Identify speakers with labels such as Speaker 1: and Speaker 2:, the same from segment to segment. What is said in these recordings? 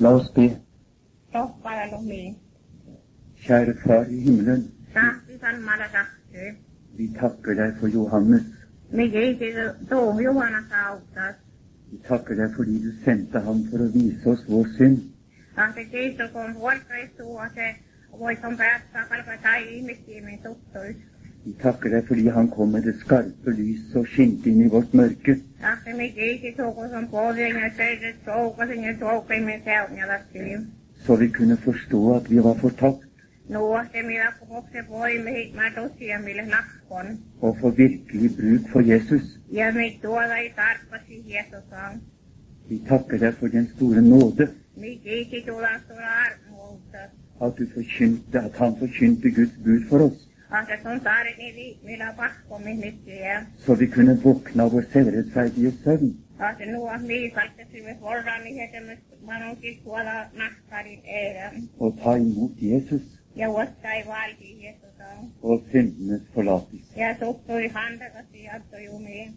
Speaker 1: La oss be.
Speaker 2: La oss bare la meg.
Speaker 1: Kjære Far i himmelen,
Speaker 2: Far, salmalla tahtoo.
Speaker 1: vi takker deg for Johannes.
Speaker 2: Me kiitän tuohon Juhanan kautta.
Speaker 1: Vi takker deg fordi du sendte ham for å vise oss vår synd.
Speaker 2: Tahti kiitos, kun huoltoistua se voit on päästä kalpa tai ihmistiimin tuttuis.
Speaker 1: Vi takker deg fordi han kom med det skarpe lys og skinte inn i vårt mørke.
Speaker 2: Tahti me kiitos, kun on pohjien ja seiset soukasin ja soukaimin seunjalastiin.
Speaker 1: Så vi kunne forstå at vi var fortapt,
Speaker 2: Nuohte minä kohokse voimi, mä tosiaan mille lakkon.
Speaker 1: og for virkelig bruk for Jesus.
Speaker 2: Ja me tuoda ei tarppasi Jeesusaan.
Speaker 1: Vi takker deg for den store nåde,
Speaker 2: Me kiitos, tuoda tuoda armuutta.
Speaker 1: at, du forkynte, at han forkynte Guds bud for oss,
Speaker 2: Tahti sun taarini liikmillä niin pakkomihmisiä.
Speaker 1: så vi kunne våkne av vår selvrettferdige søvn.
Speaker 2: Taas nuo liikaltasimme forrani hetemäs niin manonkin tuolla nahkarin eidän.
Speaker 1: og ta imot Jesus
Speaker 2: Ja vuottai valki Jeesusan.
Speaker 1: og syndenes forlatelse.
Speaker 2: tota, Ja tuttui handakasi antoi jumiin.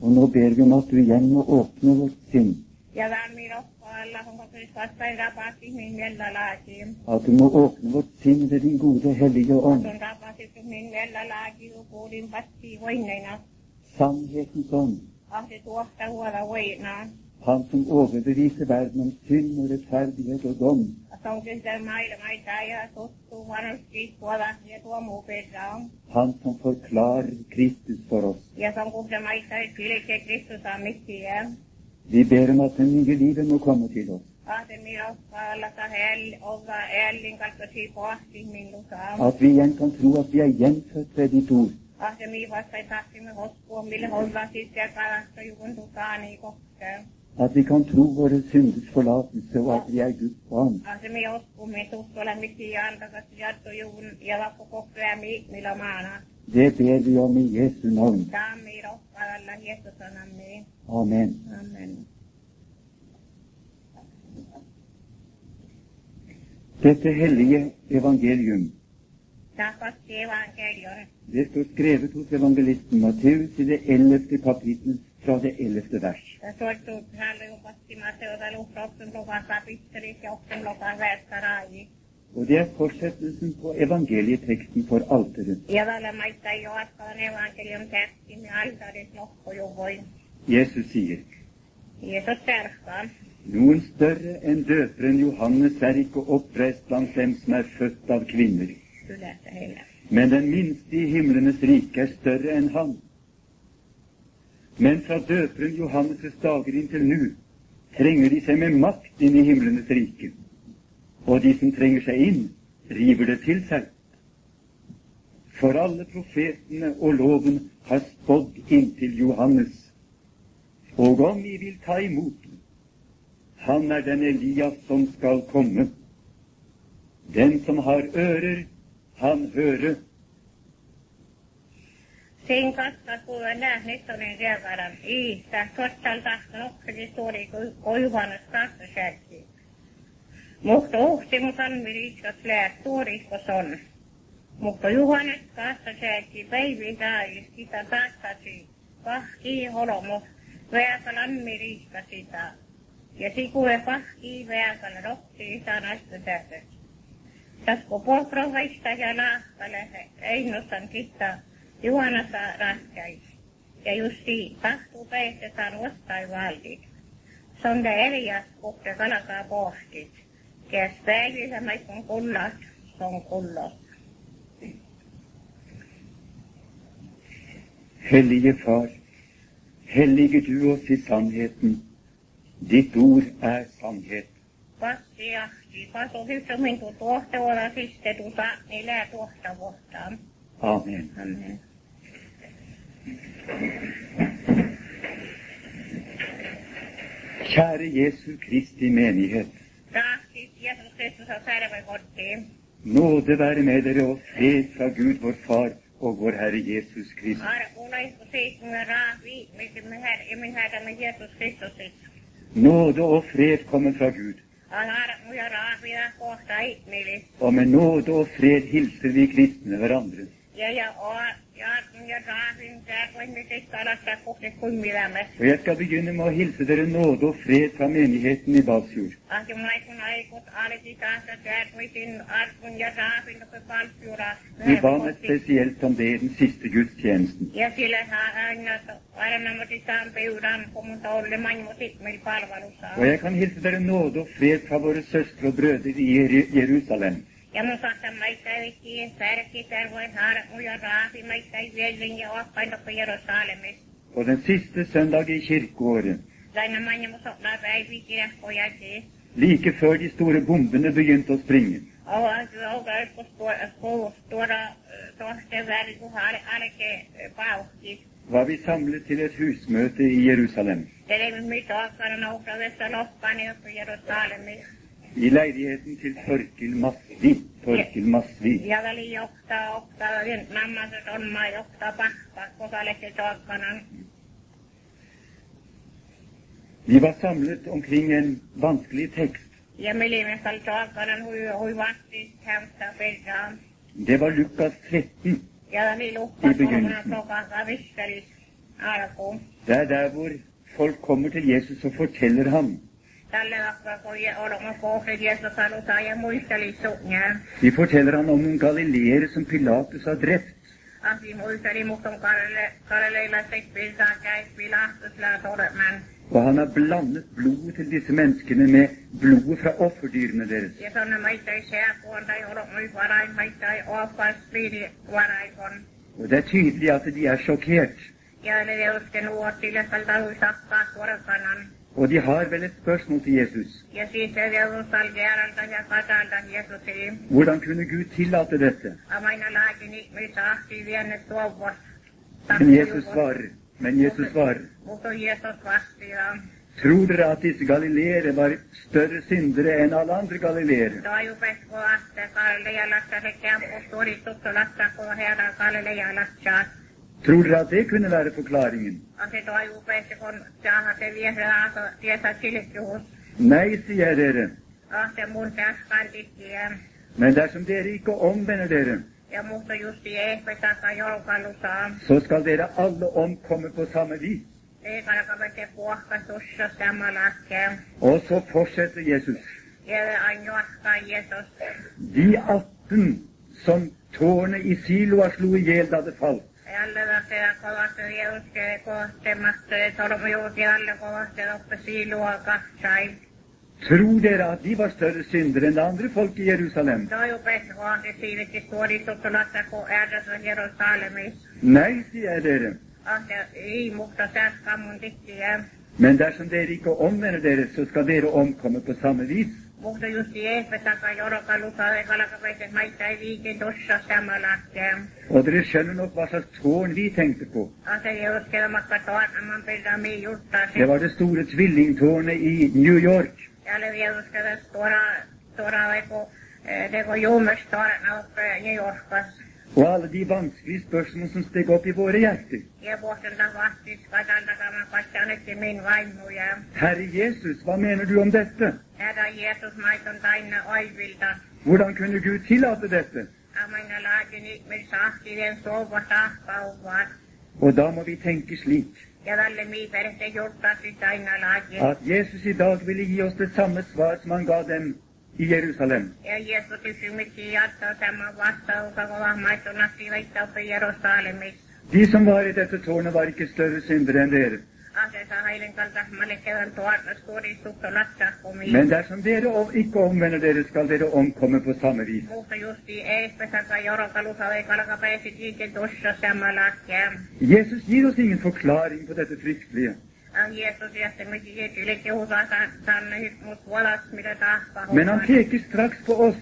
Speaker 1: Og nå ber vi om at du igjen må åpne vårt sinn,
Speaker 2: Ja lämmin oppaalla, onko kyllä sattain rapasti min miellä laatiin.
Speaker 1: at du må åpne vårt sinn ved din gode hellige ånd,
Speaker 2: Kun rapasti min miellä laatiin, kuulin pastii voineina.
Speaker 1: sannhetens ånd,
Speaker 2: Ahti Ah, tuosta huola voinaan.
Speaker 1: han som overbeviser verden om synd og rettferdighet og dom.
Speaker 2: Se on kyllä maailma, ei taida tuttuu varmasti tuolla ja tuo muu perään.
Speaker 1: Han som forklarer Kristus for oss.
Speaker 2: Ja se on kyllä maita, että kyllä Kristus on missiä.
Speaker 1: Vi ber om at det nye livet må komme til oss.
Speaker 2: Ahte minä kallata hell, olla ällin kaltasi pohti minukaan.
Speaker 1: At vi igjen kan tro at vi er gjenfødt ved ditt ord.
Speaker 2: Ahte minä vasta ei tahtimme hoskua, mille olla sitten kalasta jukun tukaani kohtaan.
Speaker 1: At vi kan tro våre synders forlatelse, og at vi er Guds barn.
Speaker 2: Ahte minä hoskua, minä tuttuilla missiä antakasti jattu jukun ja lappu kohtaan millä maana.
Speaker 1: Det ber vi om i Jesu navn.
Speaker 2: Tämä on minä rohkaalla hiestosanammiin.
Speaker 1: Amen.
Speaker 2: Amen.
Speaker 1: Dette hellige evangelium,
Speaker 2: Takasti evankelion.
Speaker 1: det står skrevet hos evangelisten Matteus i det 11. kapittel fra det 11. vers.
Speaker 2: Ja suostuu hänelle kun passimaan seurata luhtauksen lukaan kapitteli ja oksen lukaan väestä raaji.
Speaker 1: Og det er fortsettelsen på evangelieteksten for alteret.
Speaker 2: Ja tällä maista ei ole askaan evankelion tähti, me altarit lohkojuvoin.
Speaker 1: Jesus sier,
Speaker 2: Jeesus terhkaan.
Speaker 1: noen større enn døperen Johannes er ikke oppreist blant dem som er født av kvinner.
Speaker 2: Yleensä heillä.
Speaker 1: Men den minste i himlenes rike er større enn han. Men fra døperen Johannes' dager inntil nu trenger de seg med makt inn i himlenes rike. Og de som trenger seg inn, river det til seg. For alle profetene og loven har spådd inntil Johannes. Og om vi vil ta imot den, han er den Elias som skal komme. Den som har ører, han hører.
Speaker 2: Sen katta kuule näh, nyt on niin riekaran iistä. Tuottal tahto nokkeli suuri koivannus tahto säästi. Mutta uhti mut on miriskas läät suurisko on. Mutta Juhannes tahto säästi päivin taajus sitä tahtasi. Pahkii holomu, väekalan miriska sitä. Ja sikule pahkii väekalan rohti sitä naista säästä. Tasku pohprovaista ja nahkale einnostan kittaa. Juhana saa raskais. Ja justi tahtuu päistetään vastain valdit. Sonda Elias kuhte kalakaa pohtit. Kes päivissä maikon kullat, on kullos.
Speaker 1: Hellige Far, hellige du oss i sannheten. Ditt ord er sannhet.
Speaker 2: Passi jahti, pasu hyssä mintu tuosta olla sistetuta, niin lää tuosta vuottaan.
Speaker 1: Amen.
Speaker 2: Amen.
Speaker 1: Kjære Jesu Kristi menighet.
Speaker 2: Rahtis Jeesus Kristus on särvekotiin.
Speaker 1: Nåde være med dere og fred fra Gud vår Far og vår Herre Jesus Kristus.
Speaker 2: Arkuun oisku seitsemän rahvi, minä hätämme Jeesus Kristusissa.
Speaker 1: Nåde og fred kommer fra Gud.
Speaker 2: Anar muja raavia kohta ihmili.
Speaker 1: Og med nåde og fred hilser vi kristne hverandre.
Speaker 2: Ja ja oa ja saatan ja raasin täällä voi miten salasta kohti kuin elämä.
Speaker 1: Og jeg skal begynne med å hilse dere nåde og fred fra menigheten i Balsfjord.
Speaker 2: Ahjummaikun aikut alki tahansa täällä voi sin arkun ja raasin ja palkkiura.
Speaker 1: Vi ba meg spesielt om det i den siste gudstjenesten.
Speaker 2: Ja sillä saa aina, että aina mä saan peudan, kun mun tolle main, mutta sitten meillä palvelussa
Speaker 1: Og jeg kan hilse dere nåde og fred fra våre søstre og brødre i Jeru- Jerusalem.
Speaker 2: Ja mun kanssa meitä ei siihen särki, täällä voi saada mun ja raasi, meitä ei vielä ja oppaita kuin Jerusalemissa.
Speaker 1: Og den siste søndag i kirkeåret,
Speaker 2: Laina main, mutta sopnaa päivikirja pojaksi.
Speaker 1: like før de store bombene begynte å springe,
Speaker 2: Olen kyllä oikeus koulussa tuoda tohteen väliin, niin kun arke pauhki.
Speaker 1: var vi samlet til et husmøte i Jerusalem.
Speaker 2: Det ei mitään aikana nousta niin vessa loppaan, jos on Jerusalemissa.
Speaker 1: I leiligheten til Torkil Masvi. Torkil Masvi.
Speaker 2: Ja väli johtaa, ottaa, nammaset on maa johtaa pahkaa, koska lähtee aikana.
Speaker 1: Vi var samlet omkring en vanskelig tekst.
Speaker 2: Ja milimessä oli niin aikana hui, hui vasti, hämstä perään.
Speaker 1: Det var Lukas 13.
Speaker 2: Ja väli lukkaa,
Speaker 1: Ei
Speaker 2: kun
Speaker 1: pykännyt.
Speaker 2: on tokaa visseli alkuun.
Speaker 1: Det er der hvor folk kommer til Jesus og forteller ham.
Speaker 2: Tälle vaikka kun olemme kohdet, jossa sanotaan ja muisteli suunnia.
Speaker 1: De forteller ham om noen galileere som Pilatus har drept.
Speaker 2: Asi muisteli mustan karelle, kareleilla tekpiltään käispi lahtusla todemman.
Speaker 1: Og han har blandet blodet til disse menneskene med blodet fra offerdyrene deres.
Speaker 2: Ja sonne maittai sääpuon tai olomui varain maittai oafas piiri varaikon.
Speaker 1: Og det er tydelig at de er sjokkert.
Speaker 2: Ja ne veusken uottille saltahui sakkaa suorakanan.
Speaker 1: Og de har vel et spørsmål til Jesus.
Speaker 2: Ja siis se veus salgearalta ja katalta Jeesusiin.
Speaker 1: Hvordan kunne Gud tillate dette?
Speaker 2: Amaina laakin ihmistä ahti vienne tuovos.
Speaker 1: Men Jesus svarer. Men Jesus svarer.
Speaker 2: Mutta Jeesus vastaa.
Speaker 1: Tror dere at disse galileere var større syndere enn alle andre galileere?
Speaker 2: Toivupesko aste kalle ja lasta sekä kulttuuri tuttu lasta kun herra kalle ja lasta.
Speaker 1: Tror dere at det kunne være forklaringen?
Speaker 2: Ase toivupesko kun saa se viesä aso tiesä silkkius.
Speaker 1: Nei, sier jeg dere.
Speaker 2: Ahte mun täskään tikkiä.
Speaker 1: Men dersom dere ikke omvender dere,
Speaker 2: Ja muuta justi ehpetaka jolkalusaa.
Speaker 1: så skal dere alle omkomme på samme vis.
Speaker 2: Ei kalkavete puohkaisussa sama laskeen.
Speaker 1: Og så fortsetter Jesus.
Speaker 2: Ja ainoastaan Jeesus.
Speaker 1: De 18 som tårnet i Siloa slo i hjel da det falt,
Speaker 2: Jälle lähtee kovasti jälkeen kohtemasta ja torjuus jälle kovasti loppesi luokassain.
Speaker 1: tror dere at de var større syndere enn det andre folk i Jerusalem?
Speaker 2: Toivupesko ahti siivikin suorituttu lasta kun ääntäs on Jerusalemissa.
Speaker 1: Nei, sier jeg dere.
Speaker 2: Ahti ei muhta sääskään mun tikkiä.
Speaker 1: Men dersom dere ikke omvender dere, så skal dere omkomme på samme vis.
Speaker 2: Muhta justi ehpetaka jorokalusa ja kalakapeiset maittaa ei viikin tuossa samalla.
Speaker 1: Og dere skjønner nok hva slags tårn vi tenkte på.
Speaker 2: Ahti jälkelämakka toarnaman pidämiin juttasi.
Speaker 1: Det var det store tvillingtårnet i New York.
Speaker 2: Jälle jälkeläs tuoda, tuoda vaikka teko juumestorna oppe eh, New Yorkassa.
Speaker 1: Og alle de vanskelige spørsmål som steg opp i våre hjerter.
Speaker 2: Ja vuosilta vahtis katantakama kastanekki min vaimuja.
Speaker 1: Herre Jesus, hva mener du om dette?
Speaker 2: Herra Jeesus maiton tainna oivilta.
Speaker 1: Hvordan kunne Gud tillate dette?
Speaker 2: Amaina laatin ihmin sahtiden suova tahkauvat.
Speaker 1: Og da må vi tenke slik
Speaker 2: Ja tälle miiperehte jultasi tainna laatin.
Speaker 1: at Jesus i dag ville gi oss det samme svar som han ga dem i Jerusalem.
Speaker 2: Ja Jeesus kysymyksiin jatkaa tämän vastausta, kun vahmaitun asti veittauppe Jerusalemissa.
Speaker 1: De som var i dette tårnet, var ikke større syndere enn dere.
Speaker 2: Asessa hailen kalta malekevän tuorna suuri sukto
Speaker 1: Men
Speaker 2: lastakumiin.
Speaker 1: dersom dere om- ikke omvender dere, skal dere omkomme på samme vis.
Speaker 2: Muuta justi ei pesaka jorokalusa vei kalkapeisit iikin tuossa samalla.
Speaker 1: Jesus gir oss ingen forklaring på dette fryktelige.
Speaker 2: Ja Jeesus jätti mig hit yli kiusataan tänne hit mut valas mitä tahtaa.
Speaker 1: Men han peker straks på oss,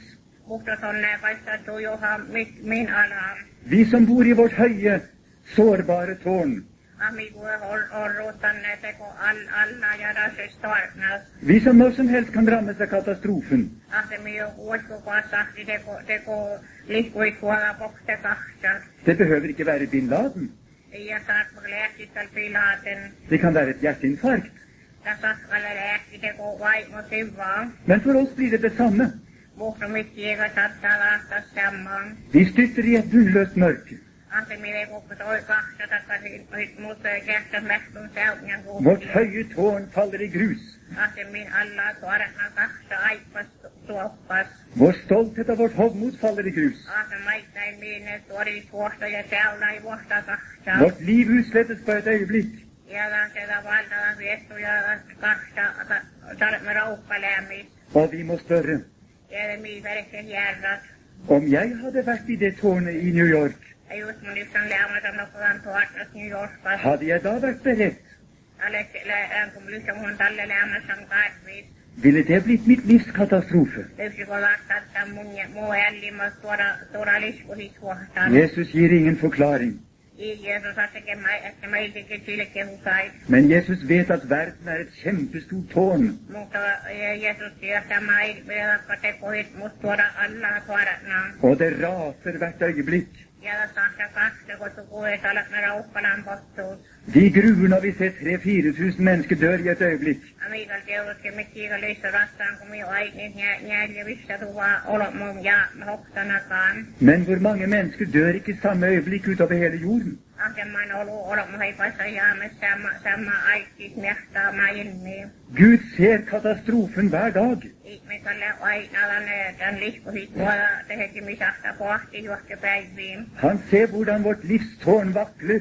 Speaker 2: Mutta tonne paistaa tujuhan mit, min alaan.
Speaker 1: vi som bor i vårt høye, sårbare tårn.
Speaker 2: Ami kue hor, horru tänne teko al, alla ja no, rasis tornas.
Speaker 1: Vi som når som helst kan rammes av katastrofen.
Speaker 2: Asemi niin jo uotku pasahti teko, teko liikui kuola pokte kahtan.
Speaker 1: Det behøver ikke være bin Laden.
Speaker 2: Ja saatko lääkital pilaaten.
Speaker 1: Det kan være et hjerteinfarkt.
Speaker 2: Ja sahkalle lääkki teko vaimo sivaan.
Speaker 1: Men for oss blir det det samme.
Speaker 2: Mutta mit kieka saattaa lahtaa sammaan.
Speaker 1: Vi styrter i et bunnløst mørke.
Speaker 2: asemien kokku toi kahta takaisin, niin oit muuta ja kähtä mähtun säutnän huomioon.
Speaker 1: Vårt høye tårn faller i grus.
Speaker 2: asemin alla tuorena kahta aippas tuoppas.
Speaker 1: Vår stolthet og vårt hovmod faller i grus.
Speaker 2: Asemaittain minne tuori tuosta ja täällä ei vuosta kahta.
Speaker 1: Vårt liv utslettes på et øyeblikk.
Speaker 2: Jäädään sitä valtavan viestu jäädään kahta ta- tarme raukkalämmi.
Speaker 1: Og vi må spørre
Speaker 2: Jäädä miiverisen järrat.
Speaker 1: om jeg hadde vært i det tårnet i New York,
Speaker 2: Ja just mun yksän lämmötä nokkuvan tuortas New Yorkas.
Speaker 1: hadde jeg da vært beredt?
Speaker 2: Aleksi lämmötä äh, kun lyhkä mun talle lämmössä on kasvis.
Speaker 1: Ville det blitt mitt livs katastrofe?
Speaker 2: Yksi kun vastaa mun ja muu ällimas tuoda, tuoda liskuhit huohtaan.
Speaker 1: Jesus gir ingen forklaring,
Speaker 2: Jeesus har ikke meg, ikke meg ikke tilke hos deg.
Speaker 1: men Jesus vet at verden er et kjempestort tårn,
Speaker 2: Mutta eh, Jeesus sier til meg, vielä kote kohit must tuoda alla tuorana.
Speaker 1: og det raser hvert øyeblikk.
Speaker 2: Ja tahta kahta, kun tu kuulet alat me raukkalan pottuut.
Speaker 1: Vi gruer når vi ser 3-4 tusen mennesker dør i et øyeblikk.
Speaker 2: Amikal teurutki me kiika lyssä rastaan, kun minä oit niin jäljä vissa tuvaa olot mun ja hoksanakaan.
Speaker 1: Men hvor mange mennesker dør ikke samme øyeblikk utover hele jorden?
Speaker 2: Ahdeman olu olot mun heipassa jaamme sama, sama aikkiit mehtaa mä ilmiin.
Speaker 1: Gud ser katastrofen hver dag.
Speaker 2: Ihmiselle aina tämän lihkuhit tuolla tehdäkin misasta kohti juoksepäiviin.
Speaker 1: Han ser hvordan vårt livs tårn vakler,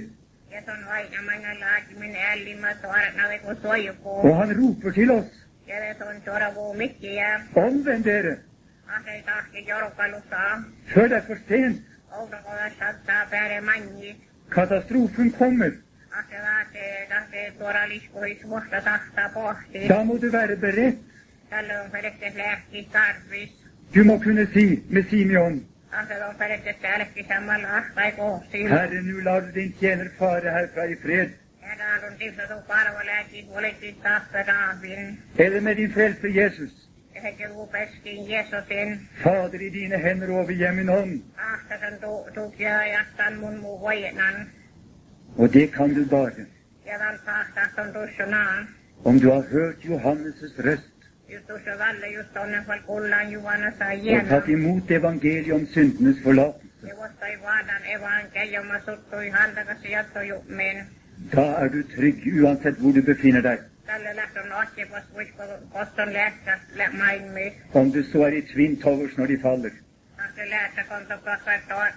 Speaker 2: Ja se on aina mennä laatimin ällimä tuorana kun
Speaker 1: og
Speaker 2: suojukuu.
Speaker 1: han roper til oss.
Speaker 2: Ja se on tuoravuu mikkiä.
Speaker 1: Omvend dere,
Speaker 2: Ahde tahti jorkalusaa.
Speaker 1: før det er for sent.
Speaker 2: Oudokolla sattaa päälle manni.
Speaker 1: Katastrofen kommer.
Speaker 2: Ahde laatee tahti tuora lihkuhit suosta tahtaa pohti.
Speaker 1: Da må du være beredt.
Speaker 2: Tällöin on perehtes lähti tarvis.
Speaker 1: Du må kunne si med Simeon,
Speaker 2: Ahde on perehtes täällekin samalla ahtai kohti.
Speaker 1: Herre, nu lar du din tjener fare herfra i fred.
Speaker 2: Ja täällä on tipsatu parvalääkin huolehti tahtaraavin.
Speaker 1: Eller med din frelser Jesus.
Speaker 2: Ehkä rupeskin Jeesusin
Speaker 1: Fader, i dine hender overgir min hånd.
Speaker 2: ahtasen tukia ja tämän mun muu voinan.
Speaker 1: Og det kan du bare
Speaker 2: Ja tämän tahtasen tussunaan.
Speaker 1: om du har hørt Johannes' røst
Speaker 2: Just tuossa välle just tonne kun kullaan juvana sai
Speaker 1: og
Speaker 2: hienoa.
Speaker 1: tatt imot evangeliet om syndenes forlatelse.
Speaker 2: Ja vastai vaadan evaan keijoma suttui hantakasi jattojummiin.
Speaker 1: Da er du trygg uansett hvor du befinner deg.
Speaker 2: Tälle lähtön ohjepas vuisko koston lähtä maailmiin.
Speaker 1: Om du så er i Twin Towers når de faller.
Speaker 2: Ahti lähtä konto kasvattaa,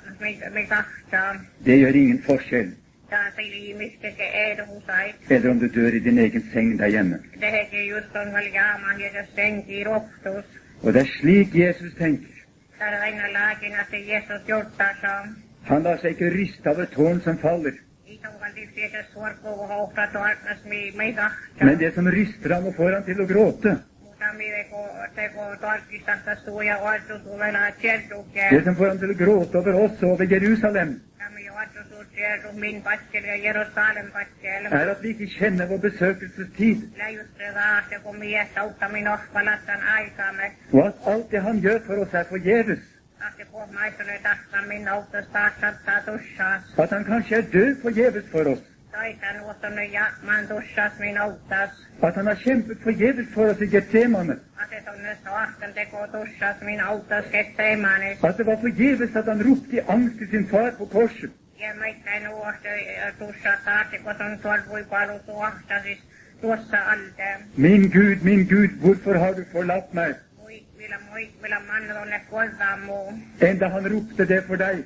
Speaker 2: mikä ahtaa.
Speaker 1: Det gjør ingen forskjell.
Speaker 2: Tää sili mistäkin ehdohusai.
Speaker 1: Eller om du dør i din egen seng der hjemme.
Speaker 2: Tehekin just on väl jaama hiekas senki rohtus.
Speaker 1: Og det er slik Jesus tenker.
Speaker 2: Täällä aina lääkinä se Jeesus juttaansa.
Speaker 1: Han lar seg ikke ryste av et tårn som faller,
Speaker 2: Itse vallit Jeesus siis suorkuu hohta tuotnas mi mi kahta.
Speaker 1: men det som ryster ham og får ham til å gråte,
Speaker 2: Mutta mi teko teko tarkistasta suu ja oitu tulena tjertukea.
Speaker 1: det som får ham til å gråte over oss og over Jerusalem,
Speaker 2: Tämä oitu suu tjertu min paskel ja Jerusalem paskel.
Speaker 1: er at vi ikke kjenner vår besøkelsestid,
Speaker 2: Läjustrevaa se kun mies auttamin ohpalattan aikamme.
Speaker 1: og at alt det han gjør for oss, er forgjeves.
Speaker 2: Ahti kuomaistunut tahtamin auttas taas sattaa tussaas.
Speaker 1: At han kanskje er død forgjeves for oss.
Speaker 2: Taitan uottunut ja maan tussaas min auttas.
Speaker 1: At han har kjempet forgjeves for oss i Getsemane.
Speaker 2: Ahti tonne soahtan teko tussaas min auttas kesteimanis.
Speaker 1: At det var forgjeves at han ropte i angst til sin far på korset.
Speaker 2: Ja meittäin uohtu tuossa taati, kun on tuolla vuipailu tuosta, siis tuossa alta.
Speaker 1: Min Gud, min Gud, hvorfor har du forlatt meg?
Speaker 2: Muit, millä muit, millä manna tuonne kuoltaan muu.
Speaker 1: Enda han ropte det for deg,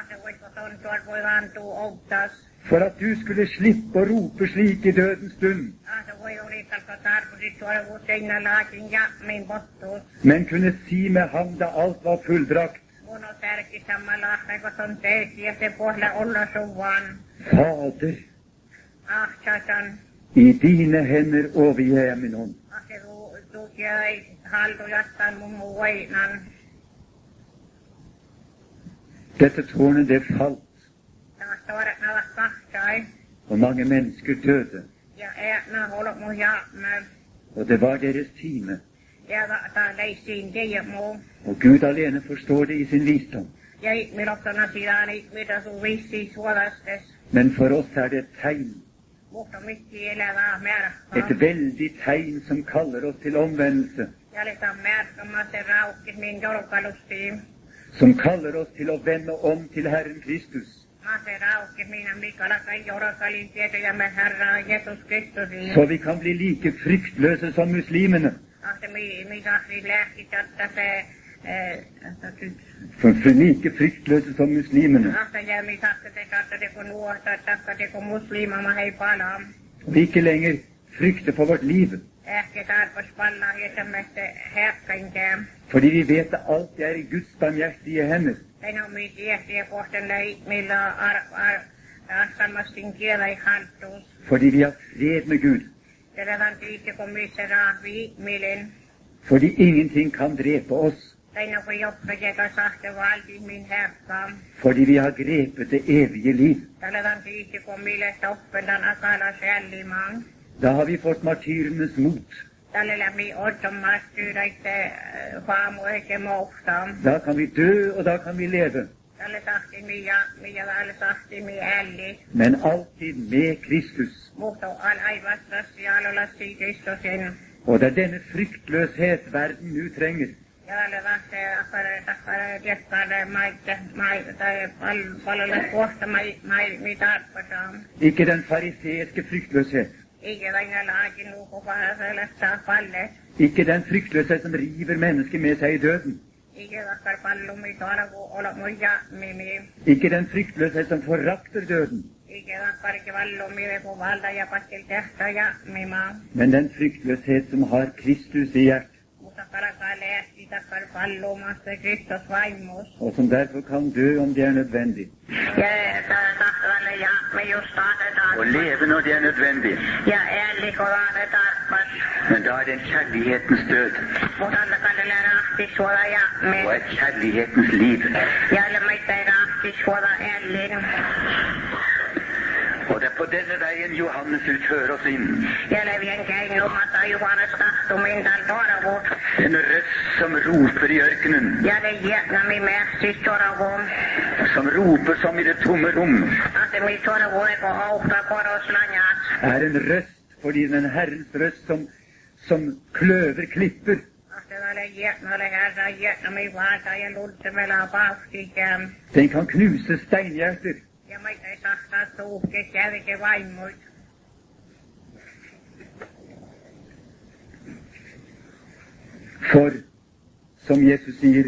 Speaker 2: Ase voiko tuon tuolla voi vantuu outtas.
Speaker 1: for at du skulle slippe å rope slik i dødens stund,
Speaker 2: Ase Ah, voi yrittää tarkoitus tuolla uuteinna laakin ja min pottuus.
Speaker 1: men kunne si med ham da alt var fullbrakt,
Speaker 2: Mun on tärki samalla ahta, kun on teesi ja se pohla olla Ah, suvaan.
Speaker 1: Fader,
Speaker 2: Ahtsasan.
Speaker 1: i dine hender overgir jeg min hånd.
Speaker 2: Ase tukia ei haltu jattaa mun muu voinan.
Speaker 1: Dette tårnet, det falt,
Speaker 2: Taas tuoret nalla kahtai.
Speaker 1: og mange mennesker døde,
Speaker 2: Ja ena holo mun jaamme.
Speaker 1: og det var deres time,
Speaker 2: Ja ta leisiin teijä muu.
Speaker 1: og Gud alene forstår det i sin visdom.
Speaker 2: Ja ihmilottona sidaan ihmitä niin sun vissiin suolastes.
Speaker 1: Men for oss er det et tegn,
Speaker 2: Mutta mikki elävää märkkaa.
Speaker 1: et veldig tegn som kaller oss til omvendelse,
Speaker 2: Ja aletaan märkkaamaan se raukki min jorkalustiin.
Speaker 1: som kaller oss til å vende om til Herren Kristus.
Speaker 2: Ase raukeminen, mikä lakai jorkalin tietäjämme Herraa Jeesus Kristusiin.
Speaker 1: så vi kan bli like fryktløse som muslimene.
Speaker 2: Ahte mi, mikä si lähti tästä se... eh,
Speaker 1: For, for like fryktløse som muslimene.
Speaker 2: Ahte jää mi tahte te tahte te kun nuorta, tahte te kun muslimama hei palaa.
Speaker 1: Og ikke lenger frykte for vårt liv.
Speaker 2: Ehkä tarpas pallaa hietämästä herkkinkään.
Speaker 1: Fordi vi vet at alt er i Guds barmhjertige hender.
Speaker 2: Ei on mi tiehtiä kohten näi, millä on ar, ar, arsamastin kielä haltuus.
Speaker 1: Fordi vi har fred med Gud.
Speaker 2: Televän tiitte kun missä rahvii, milin.
Speaker 1: Fordi ingenting kan drepe oss.
Speaker 2: Ei on kun joppajeto sahte valtiin min herkkaan.
Speaker 1: Fordi vi har grepet det evige liv.
Speaker 2: Tällöin tiitti, kun mille soppenan akala sällimaan.
Speaker 1: Da har vi fått martyrenes mot.
Speaker 2: Tälle läpi ottomas tyydäitte vaamu äh, eikä mohtaa.
Speaker 1: Da kan vi dø, og da kan vi leve.
Speaker 2: Tälle tahti mi ja, mi ja väl tahti mi älli.
Speaker 1: Men alltid med Kristus.
Speaker 2: Mutta al aivastas jaalolla si Kristusin.
Speaker 1: Og det er denne fryktløshet verden nå trenger.
Speaker 2: Ja alle vahte akare takare tiekkaare maitte, mai, tai pal, palolle kohta mai, mai mi tarpasaan.
Speaker 1: Ikke den fariseiske fryktløshet.
Speaker 2: Eikä vain laakin nukupaha selästää palle.
Speaker 1: Ikke den fryktløshet som river mennesket med seg i døden.
Speaker 2: Eikä vakkar pallumi tuolla olemuja mimi.
Speaker 1: Ikke den fryktløshet som forakter døden,
Speaker 2: Ikävä kaikki vallumi vepuvalta ja paskel tehtä ja mima.
Speaker 1: men den fryktløshet som har Kristus i hjertet,
Speaker 2: Mutta karakaa lehti takkar vallumasta Kristus vaimus.
Speaker 1: og som derfor kan dø om det er nødvendig,
Speaker 2: Ja tää tahvalle ja me just tahdetaan.
Speaker 3: og leve når det er nødvendig.
Speaker 2: Ja ääli kovaane tarpas.
Speaker 3: Men da er det en kjærlighetens død
Speaker 2: Mutta antakalle rahti suola ja me.
Speaker 3: og et kjærlighetens liv.
Speaker 2: Ja alle meitä rahti suola ääliin.
Speaker 3: Og det er på denne veien Johannes ut fører oss inn.
Speaker 2: Ja levien käin lomata juhannes tahtumin tal toravut.
Speaker 3: En røst som roper i ørkenen,
Speaker 2: Ja ne jätnami määstis toravun.
Speaker 3: som roper som i det tomme rom,
Speaker 2: Antemi toravun eko auhta koroslanjas.
Speaker 1: er en røst fordi den Herrens røst som, som kløver klipper,
Speaker 2: Ahtevale jätnalle herra jätnami vaata ja luntemela paustikään.
Speaker 1: den kan knuse steinhjerter,
Speaker 2: Ja meitä ei sahtaa suuhke kärke vaimuit.
Speaker 1: for som Jesus sier,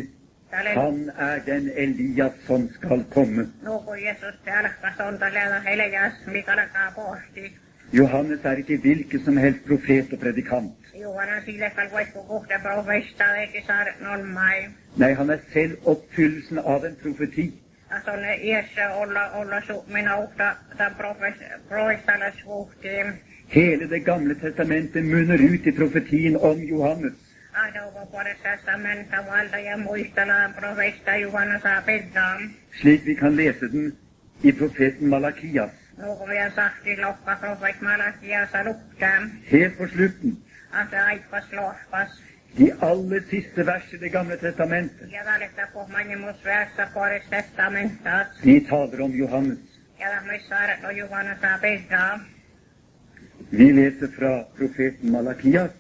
Speaker 2: Tälle
Speaker 1: han er den Elias som skal komme.
Speaker 2: nuku Jeesus te alkas on tällä heljas, mikä alkaa pohti.
Speaker 1: Johannes er ikke hvilken som helst profet og predikant.
Speaker 2: Juhana sille kalvoitku kuhte profesta eikä saare non mai.
Speaker 1: Nei, han er selv oppfyllelsen av en profeti.
Speaker 2: Asonne iässä olla, olla su, minä uhta tämän profes, profestalle suhtiin.
Speaker 1: Hele Det gamle testamentet munner ut i profetien om Johannes.
Speaker 2: Aina uva puolesta mentä valta ja muistellaan profesta Juhana saa pidaan.
Speaker 1: slik vi kan lese den i profeten Malakias,
Speaker 2: No kun vielä sahti lohka profet Malakiassa lukkaa,
Speaker 1: helt på slutten.
Speaker 2: ase aippas lohpas.
Speaker 1: De aller siste vers i Det gamle testamentet,
Speaker 2: Ja valetta kohmanimus väässä puolesta testamentas.
Speaker 1: de taler om Johannes.
Speaker 2: Ja lähmissä no Juhana saa pidraa.
Speaker 1: Vi leser fra profeten Malakias.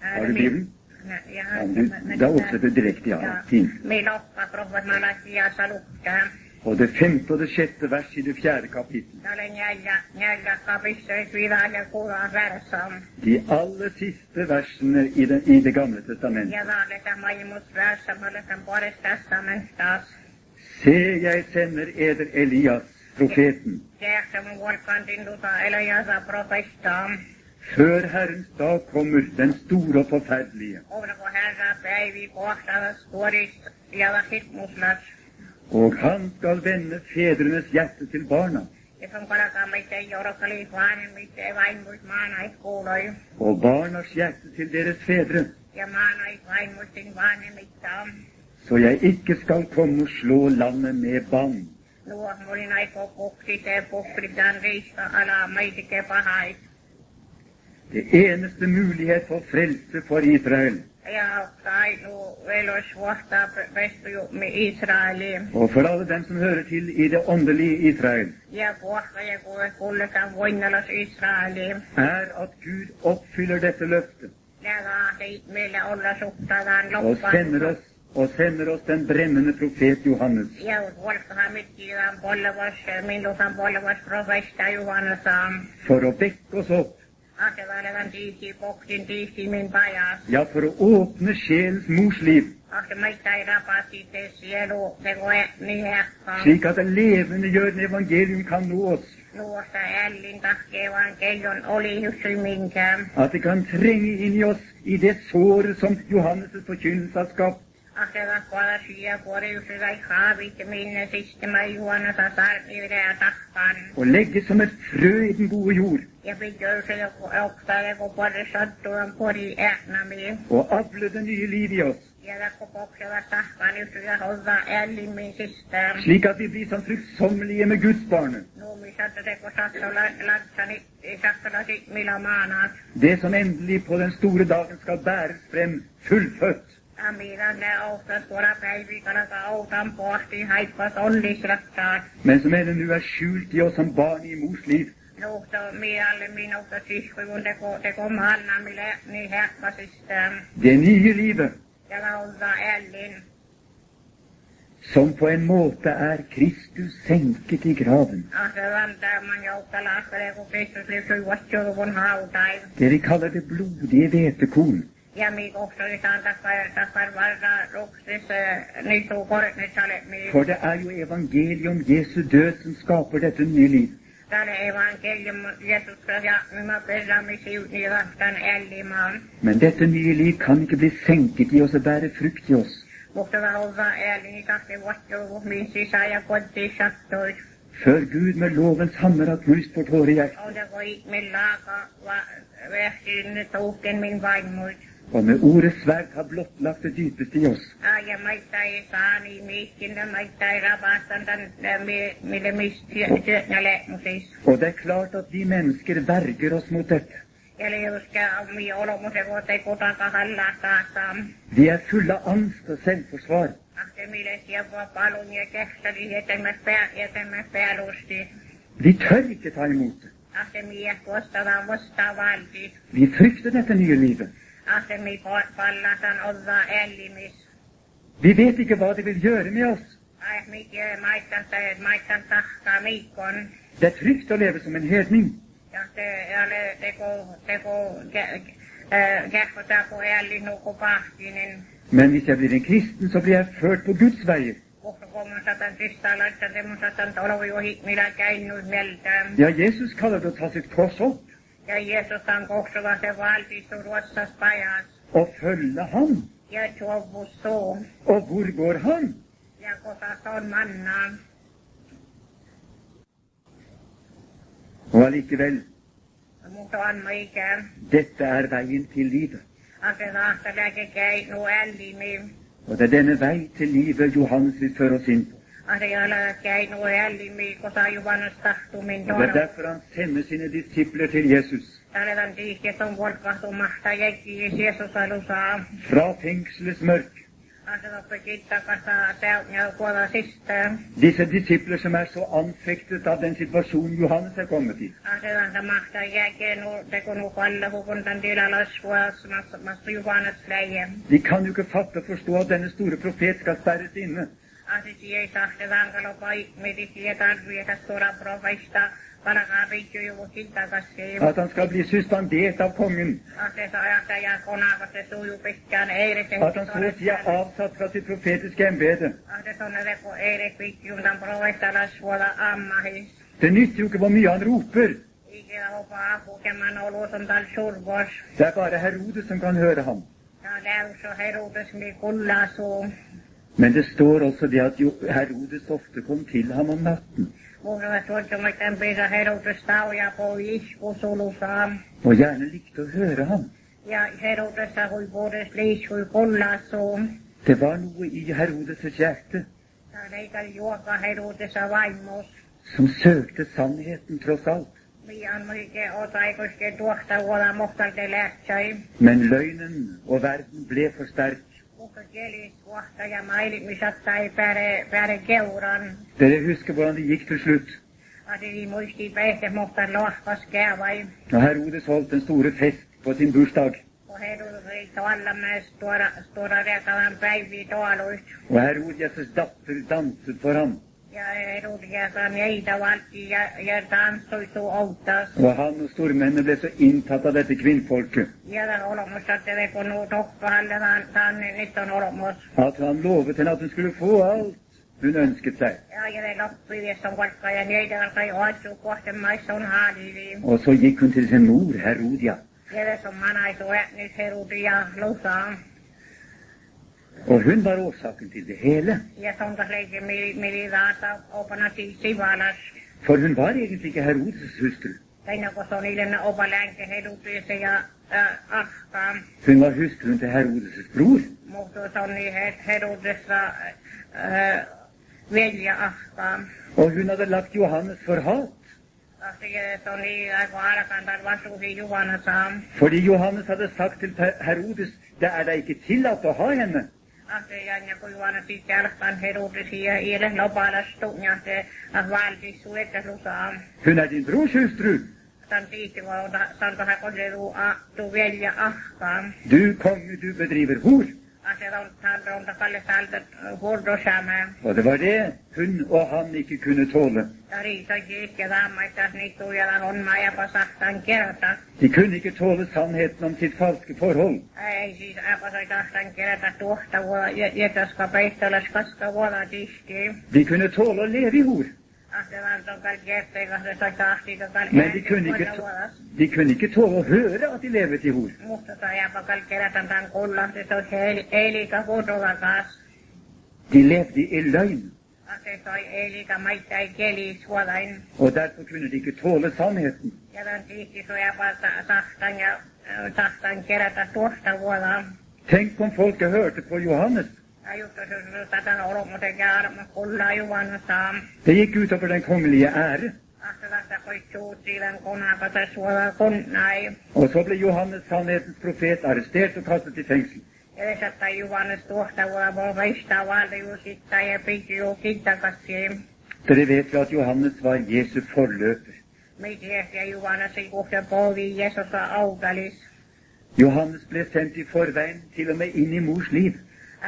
Speaker 1: Har du Bibelen?
Speaker 2: niin- Ja,
Speaker 1: Ja, du, da oversetter du direkte, ja. Fint.
Speaker 2: Me lohka profet Malakiassa lukkaa.
Speaker 1: Og det femte og det sjette vers i det fjerde kapittel.
Speaker 2: Ja olen jäljä, jäljä kapissa viidaan ja kuulaan väärsään.
Speaker 1: De aller siste versene i Det, i det gamle testamentet.
Speaker 2: Ja valetta mainimus väässä puolesta puolesta testamentas.
Speaker 1: Se, jeg sender eder Elias, profeten,
Speaker 2: Tehtä mun vuolkantin tuta elojasa profestaan.
Speaker 1: før Herrens dag kommer, den store og forferdelige.
Speaker 2: Oliko herra päivi kohtalas tuorist ja hitmuslas.
Speaker 1: Og han skal vende fedrenes hjerte til barna,
Speaker 2: Ja sun kalakaan meitä ei jorokali vanhemmit ei vaimuis maanais kuuloi.
Speaker 1: og barnas hjerte til deres fedre,
Speaker 2: Ja maanais vaimuisin vanhemmita.
Speaker 1: så jeg ikke skal komme og slå landet med bann.
Speaker 2: Nuo mulin aiko kuksit ja kukritan riista ala meitike pahais.
Speaker 1: Det eneste mulighet for frelse for Israel,
Speaker 2: Ja kai nuu velos vuotta pestujumme Israeliin.
Speaker 1: og for alle dem som hører til i det åndelige Israel,
Speaker 2: Ja kohta ja kuule kullekaan voinnalos Israeliin.
Speaker 1: er at Gud oppfyller dette løftet
Speaker 2: Ja vaati meillä olla suhtaan
Speaker 1: og
Speaker 2: loppuun.
Speaker 1: sender oss og sender oss den brennende profet Johannes.
Speaker 2: jõud valkamit ja polevas , minus on polevas professor Juhanes ,
Speaker 1: for å vekke oss opp,
Speaker 2: aseväel on tihti , poksin tihti mind vaja ,
Speaker 1: ja, for å åpne sjelens mors liv,
Speaker 2: aga ma ei saa rabasi teisi elu tegu e- nii heaks ,
Speaker 1: slik at det levendegjørende evangelium kan nå oss,
Speaker 2: luues jälle tahke evangeelium oli just mind ,
Speaker 1: at det kan trenge inn i oss i det såret som Johannes' forkynnelse har skapt,
Speaker 2: aga kohe siia korjuse sai haavit minna , siis tema Juhanes saab üle tahkan
Speaker 1: og legge som et frø i den gode jord,
Speaker 2: ja pidusele oksale , kui korjus sattunud kuri ähnami
Speaker 1: og avle det nye liv i oss,
Speaker 2: ja kui poksevad tahkan just üle olla jälgimisest
Speaker 1: slik at vi blir som fruktsommelige med Guds barnet,
Speaker 2: no mis sa teed , kui sa lapseni , sa lasid mille maanad ,
Speaker 1: det som endelig på den store dagen skal bæres frem fullfødt.
Speaker 2: millal te ausad tuleb päeviga , aga ausam posti haipas on lihtsalt .
Speaker 1: men som ennå nu er skjult i oss som barn i mors liv,
Speaker 2: no ta millal minuga siis , kui mul tegu , tegu maanna , mille nii hakkas vist
Speaker 1: det nye livet,
Speaker 2: niin ja lausa jälle
Speaker 1: som på en måte er Kristus senket i graven.
Speaker 2: asevan tämän joukka lahkele , kun Kristus liittyivät juvun hautaan
Speaker 1: Det vi kaller det blodige hvetekorn,
Speaker 2: ja minä kohtuin saan takaisin takaisin valtaa ruksissa niin suukorret nyt olet minä
Speaker 1: for det er jo evangeliet om Jesu død som skaper dette nye liv.
Speaker 2: Täällä evankelium Jeesus ja minä perämisi niin vastaan ällimaan.
Speaker 1: Men dette nye liv kan ikke bli senket i oss og bære frukt i oss,
Speaker 2: Mutta mä oon vaan älli, niin tahti vuottuu mihin sisään ja kotiin sattuisi.
Speaker 1: før Gud med lovens hammer har knust vårt hårde hjerte,
Speaker 2: Oletko ihmin laaka, vehtiin nyt uhkin min vaimuit.
Speaker 1: og med ordets sverd har blottlagt det dypeste i oss.
Speaker 2: Ai ja maita ei saa niin mihin, ja maita ei rapastan tän, ä, mi- mille mistä siis.
Speaker 1: Og det er klart at vi mennesker verger oss mot dette.
Speaker 2: Ja liuskää on mii olomuse, kun te kutakahan lahtaataan.
Speaker 1: Vi er fulle av angst og selvforsvar.
Speaker 2: Ahte mille sielua palun ja kehtäli, jätemmäs pää, jätemmäs päälusti.
Speaker 1: Vi tør ikke ta imot det.
Speaker 2: Ahte mie kuostavaan vastaan valti.
Speaker 1: Vi frykter dette nye livet.
Speaker 2: asemi pallatan olla ellimis.
Speaker 1: Vi vet ikke hva det vil gjøre med oss.
Speaker 2: Ai mikä maittan tai maittan tahkaa miikon.
Speaker 1: Det er trygt å leve som en hedning.
Speaker 2: Ja se ja le teko teko kähkota kun älli nuku pahtinen.
Speaker 1: Men hvis jeg blir en kristen, så blir jeg ført på Guds veier.
Speaker 2: Kohta kolman satan tystaa laittaa semmoisen satan tolovi ohi, millä käynyt mieltä.
Speaker 1: Ja, Jesus kaller det å ta sitt kors opp
Speaker 2: Ja Jeesus on kohtuva se valtistu ruotsas pajas.
Speaker 1: og følge ham.
Speaker 2: Ja tuovustuu.
Speaker 1: Og hvor går han?
Speaker 2: Ja kota on mannaan.
Speaker 1: Og allikevel,
Speaker 2: Mutta on mikä.
Speaker 1: dette er veien til livet.
Speaker 2: Ase tahtaa lääke käynyt ällimiin.
Speaker 1: Og det er denne vei til livet Johannes vil føre oss inn på.
Speaker 2: Arjala käin oelli miiko sajuvanus tahtumin
Speaker 1: Og det er
Speaker 2: tuolla.
Speaker 1: derfor han sender sine disipler til Jesus.
Speaker 2: Täällä tiihtiet on volkahtumahta jäkkiis Jeesus alusaa.
Speaker 1: Fra fengselets mørk.
Speaker 2: Asetoppi kittakasa täynnä kuolla sistään.
Speaker 1: Disse disipler som er så anfektet av den situasjonen Johannes er kommet i.
Speaker 2: Asetanta mahta jäkkiin tekonu kalla hukuntan tilalaskuas mas juvanus läjä.
Speaker 1: De kan jo ikke fatte og forstå at denne store profet skal sperres inne.
Speaker 2: Aseti ei sahtetaan kalopai medisiä tarvietä suora profesta. Parakaa pitjujuvu kittakasiin.
Speaker 1: At han skal bli suspendert av kongen.
Speaker 2: Aseta ajataja konava se suju pitkään eirisen.
Speaker 1: At han så å si er avsatt fra sitt profetiske embete.
Speaker 2: Ahdetonelle kun eilen pitjuntan provestala suola ammahis.
Speaker 1: Det nytter jo ikke hvor mye han roper.
Speaker 2: Ikävä hopa apu, keman oluton tal survos.
Speaker 1: Det er bare Herodes som kan høre ham.
Speaker 2: Tää läys on herutus, niin mi kullasuu.
Speaker 1: Men det står også det at jo- Herodes ofte kom til ham om natten.
Speaker 2: Muutama suottamaitten piisa herutus tauja poi isku sulusaa.
Speaker 1: Og gjerne likte å høre ham.
Speaker 2: Ja herutussa hui puhdes liishui kullasuu.
Speaker 1: Det var noe i Herodes' hjerte
Speaker 2: Tää leikal juoka herutussa vaimus.
Speaker 1: som søkte sannheten tross alt.
Speaker 2: Mian muike otaikuske tuosta uola muhtalte lähtsäi.
Speaker 1: Men løgnen og verden ble for sterk.
Speaker 2: Mutta kielis kohta ja mailimisat tai pääre, pääre keuran.
Speaker 1: Dere husker hvordan det gikk til slutt.
Speaker 2: Att vi muisti päihte mutta lohkas käy vai
Speaker 1: Når Herodes holdt den store fest på sin bursdag,
Speaker 2: kun hedulriik vallamäes tuoda, tuoda riekalan päiviä tuoluista.
Speaker 1: Og Herodias' datter danset for ham,
Speaker 2: Ja hedulriekalan jäitä valti ja, ja tanssui tuu outtas.
Speaker 1: og han og stormennene ble så inntatt av dette kvinnfolket
Speaker 2: Ja tämän olemusta teve kun nuu tohkahalle vaan tanne, nyt on olemus.
Speaker 1: at han lovet henne at hun skulle få alt hun ønsket seg.
Speaker 2: Ja jäle loppi vieston kolkka ja jäitä alkai oatsu kohten maissa on haaliviin.
Speaker 1: Og så gikk hun til sin mor, Herodia,
Speaker 2: Jäle som manaisu ätnis heruti ja lusaan.
Speaker 1: og hun var årsaken til det hele.
Speaker 2: Ja sontas leikki mili, mili vaata opana si- sivalas.
Speaker 1: For hun var egentlig ikke Herodes' hustru.
Speaker 2: Tänne kun se on ilmä opa länke hedupiissa ja äh, ahkaan.
Speaker 1: Hun var hustruen til Herodes' bror.
Speaker 2: Mutta se on niin he- herudessa äh, velja ahkaan.
Speaker 1: Og hun hadde lagt Johannes for hat,
Speaker 2: Asia se on niin aiku alkaan tai vasuhi juvana saa.
Speaker 1: fordi Johannes hadde sagt til Per- Herodes det er deg ikke tillatt å ha henne.
Speaker 2: Asia ja kun juvana sitten alkaan herudesi ja ielen lopalastu ja se ah, valtis suetta lusaa.
Speaker 1: Hun er din brors hustru.
Speaker 2: Tän tiitti voi ota, sanko hän kohdelu ahtu velja ahkaan.
Speaker 1: Du konge, du bedriver hor.
Speaker 2: Asia on tämän ronta kalle salta hurdosamaa.
Speaker 1: Og det var det hun og han ikke kunne tåle.
Speaker 2: Ja riita kiikki vammaistas niitä tuijalla on maja pasahtan kerta.
Speaker 1: De kunne ikke tåle sannheten om sitt falske forhold.
Speaker 2: Ei siis apasoi tahtan kerätä tuosta vuola, jätäskä peittolas koska vuola tihti.
Speaker 1: De kunne tåle å leve i hor,
Speaker 2: Ahtelan ton kal kertei kahdesta tahtiika kal
Speaker 1: men de kunne ikke, de kunne ikke tåle å høre at de levet i hor.
Speaker 2: Musta tai apa kal kerätän tän kullan, se on hel, elika hudola kaas.
Speaker 1: De levde i løgn,
Speaker 2: Ahte toi elika maittai keli suolain.
Speaker 1: og derfor kunne de ikke tåle sannheten.
Speaker 2: Ja tän tihti suojapa tahtan ja ö, tahtan kerätä tuosta vuola.
Speaker 1: Tenk om folket hørte på Johannes.
Speaker 2: Ajuttuisuus tätä ollut muutenkin arma kullaa juvannusta.
Speaker 1: Det gikk utover den kongelige ære.
Speaker 2: Ahtelasta koittuu tiivän kunakata suola kunnai.
Speaker 1: Og så ble Johannes, sannhetens profet, arrestert og kastet i fengsel.
Speaker 2: Edessä tai juvannus tuosta vuola voi veistää valtiusittaa ja pitjuu kittakassi.
Speaker 1: Dere vet jo at Johannes var Jesu forløper.
Speaker 2: Mitiäs ja juvannus ei kuhte polvi Jeesusa aukalis.
Speaker 1: Johannes ble sendt i forveien, til og med inn i mors liv.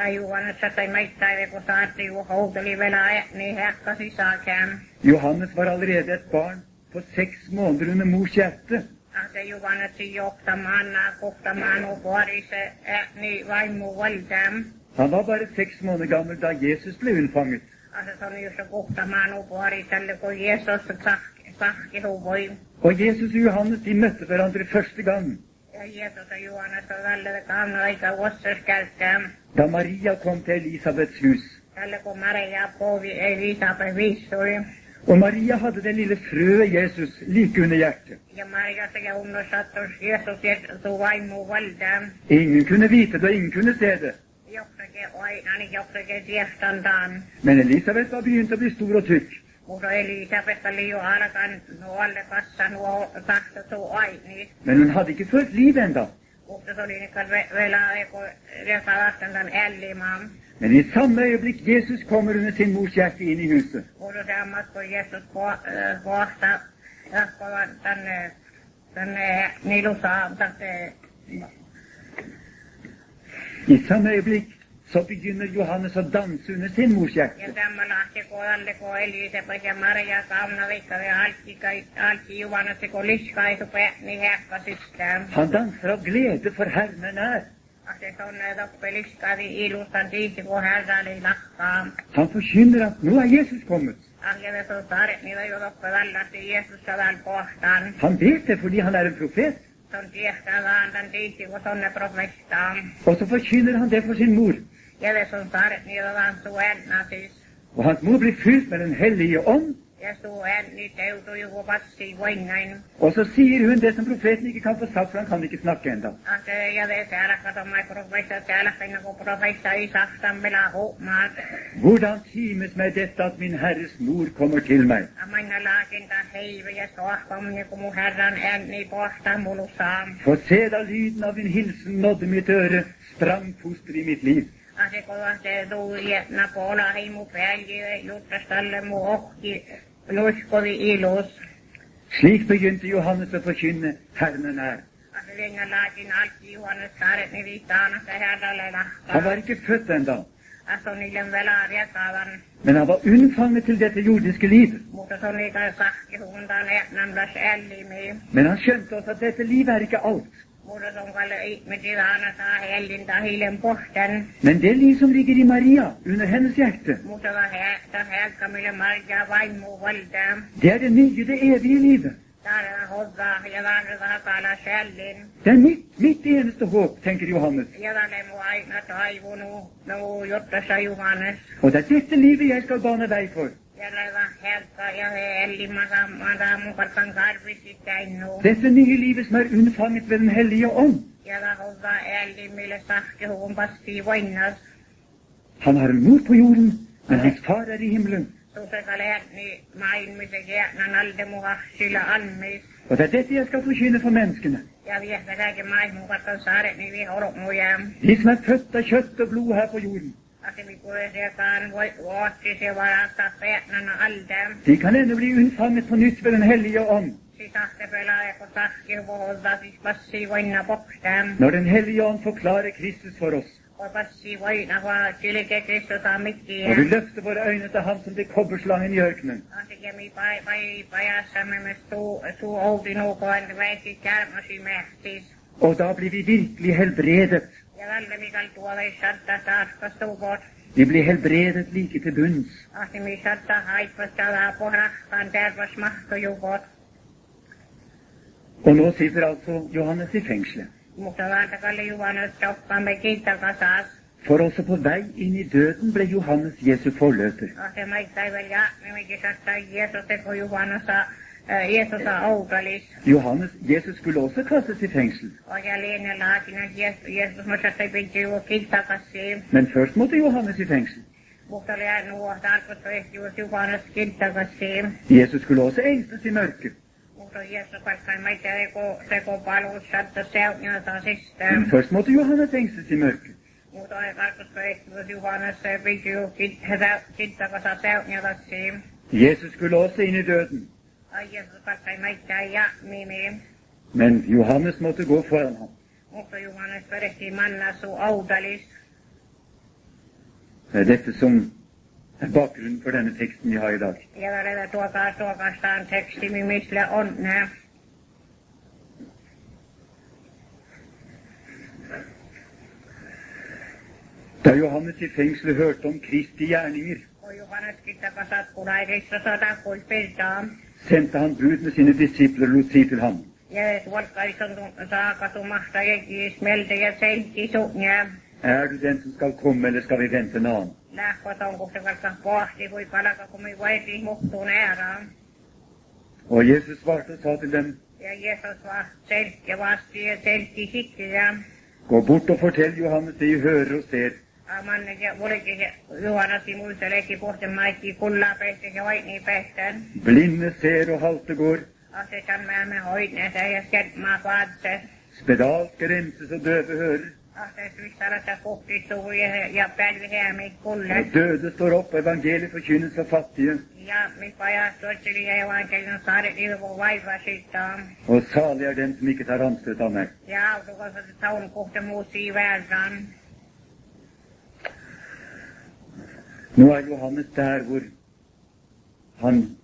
Speaker 2: Ajuvannus tai meittäivä kun saatti juu houteli velä niin häkkä sisäkään.
Speaker 1: Johannes var allerede et barn på seks måneder under mors hjerte.
Speaker 2: Ahte juvannus johtamaan nää kohtamaan ukoarise niin vaimu valtaan.
Speaker 1: Han var bare seks måneder gammel da Jesus ble unnfanget.
Speaker 2: Alltså som just att gota man och var i stället för Jesus så tack, tack i hovoj.
Speaker 1: Og Jesus og Johannes de møtte hverandre første gang
Speaker 2: Ja Jesus och Johannes och väldigt gamla lika vosserskälten.
Speaker 1: da Maria kom till Elisabeths hus.
Speaker 2: Tälle kun Maria povi Elisabeth vissui.
Speaker 1: Og Maria hadde det lille frøet Jesus like under hjertet.
Speaker 2: Ja Maria sekä unnosattus Jesus ja suu vaimu valtaan.
Speaker 1: Ingen kunne vite det, og ingen kunne se det.
Speaker 2: Joksakin oinani, joksakin niin tiestantaan.
Speaker 1: Men Elisabeth var begynt å bli stor og tykk,
Speaker 2: Mutta Elisabeth oli jo alkan nuolle kassa nuo tahto suu aini.
Speaker 1: men hun hadde ikke følt liv enda.
Speaker 2: Mutta se oli niinkään ve- velaa, kun rekalasten tämän ällimaan.
Speaker 1: Men i samme øyeblikk Jesus kommer under sin mors hjerte inn i huset,
Speaker 2: useammat kuin Jeesus ko- kohta jatkuvan tänne, tänne Nilusaan, tänne
Speaker 1: i samme øyeblikk så begynner Johannes å danse under sin mors
Speaker 2: ja
Speaker 1: hjerte.
Speaker 2: tämä lähti kohdalle, kun Elisabeth ja Maria Kauna Vikka ja Alki, Alki Juvanassa, kun liskaisu niin hekka sisään.
Speaker 1: Han danser av glede, for Herren er nær.
Speaker 2: Se on näitä peliskaisi ilustan tiisi, kun hältä oli lakkaa.
Speaker 1: Han forkynner at nå er Jesus kommet.
Speaker 2: Ahjeve sun saaret, niitä jo loppe vällästi Jeesus tämän kohtaan.
Speaker 1: Han vet det fordi han er en profet.
Speaker 2: Se on tiestään vaan tämän tiisi, kun sonne profestaan.
Speaker 1: Og så forkynner han det for sin mor.
Speaker 2: Jeve sun saaret, niitä vaan suenna siis.
Speaker 1: Og hans mor blir fylt med Den hellige ånd,
Speaker 2: Ja suu ääni teutui huopassi voinnain.
Speaker 1: og så sier hun det som profeten ikke kan få sagt, for han kan ikke snakke enda.
Speaker 2: Ahte ja ve täällä katomai profeissa täällä kaina kun profeissa ei sahtan mela huomaat.
Speaker 1: Hvordan times meg dette at min Herres mor kommer til meg?
Speaker 2: Amaina laakinta heivä ja sohvamni kun mun herran ääni pohtaa mulusaa.
Speaker 1: For se da lyden av din hilsen nådde mitt øre, sprang fosteret i mitt liv.
Speaker 2: Ahte kun ahte tuuli jätnä poola heimu pääljiä juttas tälle mun ohki luiskovi ilus.
Speaker 1: Slik begynte Johannes å forkynne Herren er nær.
Speaker 2: Ahte vengelaatin alki juhannussaaret, niin viittaanassa herralle
Speaker 1: Han var
Speaker 2: lahtaa.
Speaker 1: ikke født ennå,
Speaker 2: Alltså niiden velaa riekavan,
Speaker 1: men han var unnfanget til dette jordiske liv.
Speaker 2: mutta se on niitä kahkihuntaan etnämläs ällimiä.
Speaker 1: Men han skjønte også at dette livet er ikke alt.
Speaker 2: Mutta se on kalle ihmisiä aina saa hellintä hiilen pohten,
Speaker 1: Men det liv som ligger i Maria, under hennes hjerte,
Speaker 2: mutta vähästä hälkä, millä marjaa vaimuu valtaa.
Speaker 1: det er det nye, det evige livet.
Speaker 2: Täällä hovaa ja varvaa kala sällin.
Speaker 1: Det er mitt, mitt eneste håp, tenker Johannes.
Speaker 2: Ja tälle mua aina taivunut, no jotta sä Juhannes.
Speaker 1: Og det er dette livet jeg skal bane vei for.
Speaker 2: Jälle vähältä ja hellimata mata mukataan karvisit täinnu.
Speaker 1: Dette nye livet som er unnfanget ved Den hellige ånd.
Speaker 2: Jälle hovaa ällimille sahkehuun pastii voinnas.
Speaker 1: Han har en mor på jorden, men hans far er i himmelen.
Speaker 2: Tuuseka lähtni maailmille jäänän alde mua niin sillä anmis.
Speaker 1: Og det er dette jeg skal forkynne for menneskene.
Speaker 2: Ja viehtäkääkin maailmu mukataan saaret, niin viholot muja.
Speaker 1: De som er født av kjøtt og blod her på jorden,
Speaker 2: Asemi kuusiakaan voi vuotti se varasta jäänän alde.
Speaker 1: de kan ennå bli unnfanget på nytt ved Den hellige ånd.
Speaker 2: Sitä se pelaaja, kun tahki vuotta, siis passii voinna pokstaan.
Speaker 1: Når Den hellige ånd forklarer Kristus for oss,
Speaker 2: Kun passii voinna, vaan kylke Kristus on mikkiä.
Speaker 1: og vi løfter våre øyne til ham som til kobberslangen i ørkenen,
Speaker 2: On se kemi pai, pai, pajassamme me suu, suu outinoukoon väisi kärmosi mähtis.
Speaker 1: og da blir vi virkelig helbredet.
Speaker 2: Ja välillä mikal tuo vei satta taas suvot.
Speaker 1: Vi blir helbredet like til bunns.
Speaker 2: Asemi satta haippasta vähän pohrahkaan tervas mahtujuvot.
Speaker 1: Og nå sitter altså Johannes i fengselet.
Speaker 2: Mutta vaan takalle juvanut tokkamme kiittakasaas.
Speaker 1: For også på vei inn i døden ble Johannes Jesu forløper.
Speaker 2: Asema ikäivä ja nimikin satta Jeesus teko juvanussa. Jeesusa oukalis.
Speaker 1: Johannes, Jesus skulle også kastes i fengsel,
Speaker 2: Og jeg alene laatinen Jeesus, Jeesus mä sattei pinti juo kiittakassiin.
Speaker 1: men først måtte Johannes i fengsel.
Speaker 2: Mutta oli aina nuo tarkoittu ehti juo juvanus kiittakassiin.
Speaker 1: Jesus skulle også engstes i mørket.
Speaker 2: Mutta Jeesus vaikka mä itse reko, reko paluu satta seunata sisään.
Speaker 1: Først måtte Johannes engstes i mørket.
Speaker 2: Mutta oli tarkoitus ehtivät juhannessa ja piti juu kittakasa seunatasi.
Speaker 1: Jesus skulle også inn i døden,
Speaker 2: Ai Jeesus vaikka mä itse ja mimi.
Speaker 1: men Johannes måtte gå foran ham.
Speaker 2: Mutta juhannes perehti manna suu audalis.
Speaker 1: Det er Eh, dette som er bakgrunnen for denne teksten vi har i dag.
Speaker 2: Ja välillä tuokaa tuokastaan teksti, mimisle on nää.
Speaker 1: Da Johannes i fengselet hørte om Kristi gjerninger,
Speaker 2: Kun juhannes kittakasa kunaisissa sota kuin piltaa.
Speaker 1: sendte han bud med sine disipler og lot si til ham.
Speaker 2: Jeesus valkaisen saakasumahta ja kiismeltä ja seitti suunnia.
Speaker 1: Er du den som skal komme, eller skal vi vente en annen?
Speaker 2: Lähkot on kun se vaikka pohti, kui palaka, kun me vaiti muuttuun ääraan.
Speaker 1: Og Jesus svarte og sa til dem,
Speaker 2: Ja Jeesus vastasi ja vastasi ja seltti sitten ja
Speaker 1: gå bort og fortell Johannes det I hører og ser.
Speaker 2: Aman ja olikin se Juhanasi muista leikki pohti maikki kullaa pehtä ja vaitni pehtän.
Speaker 1: Blinde ser og halte går,
Speaker 2: Asetan mä me hoitnesa ja skentmaa vaatse.
Speaker 1: spedalske renses og døve hører.
Speaker 2: Ases vistarassa kuhtistuu ja, ja pälviä me kulle.
Speaker 1: Og døde står opp, og evangeliet forkynnes for fattige.
Speaker 2: Ja me pajaa tuotteli ja evankelin saaret ilmo vaivaa siitä.
Speaker 1: Og salig er den som ikke tar anstøt av meg.
Speaker 2: Ja autukassa se taun kuhte muuttii väärään.
Speaker 1: Nå er Johannes der hvor han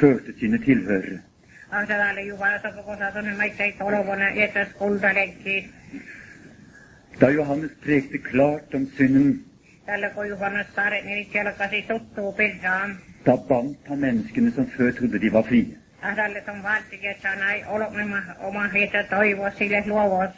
Speaker 1: førte sine tilhørere.
Speaker 2: Asetalle Juhanasa koko satunen maikkei tolovona jätäs kulta leikki.
Speaker 1: Da Johannes prekte klart om synden,
Speaker 2: Tällä kun Juhannes saaret niin siellä kasi tuttuu pirtaan.
Speaker 1: da bandt han menneskene som før trodde de var frie.
Speaker 2: Ahdalle on valtikessa näin olemme oma heitä toivoa sille luovos.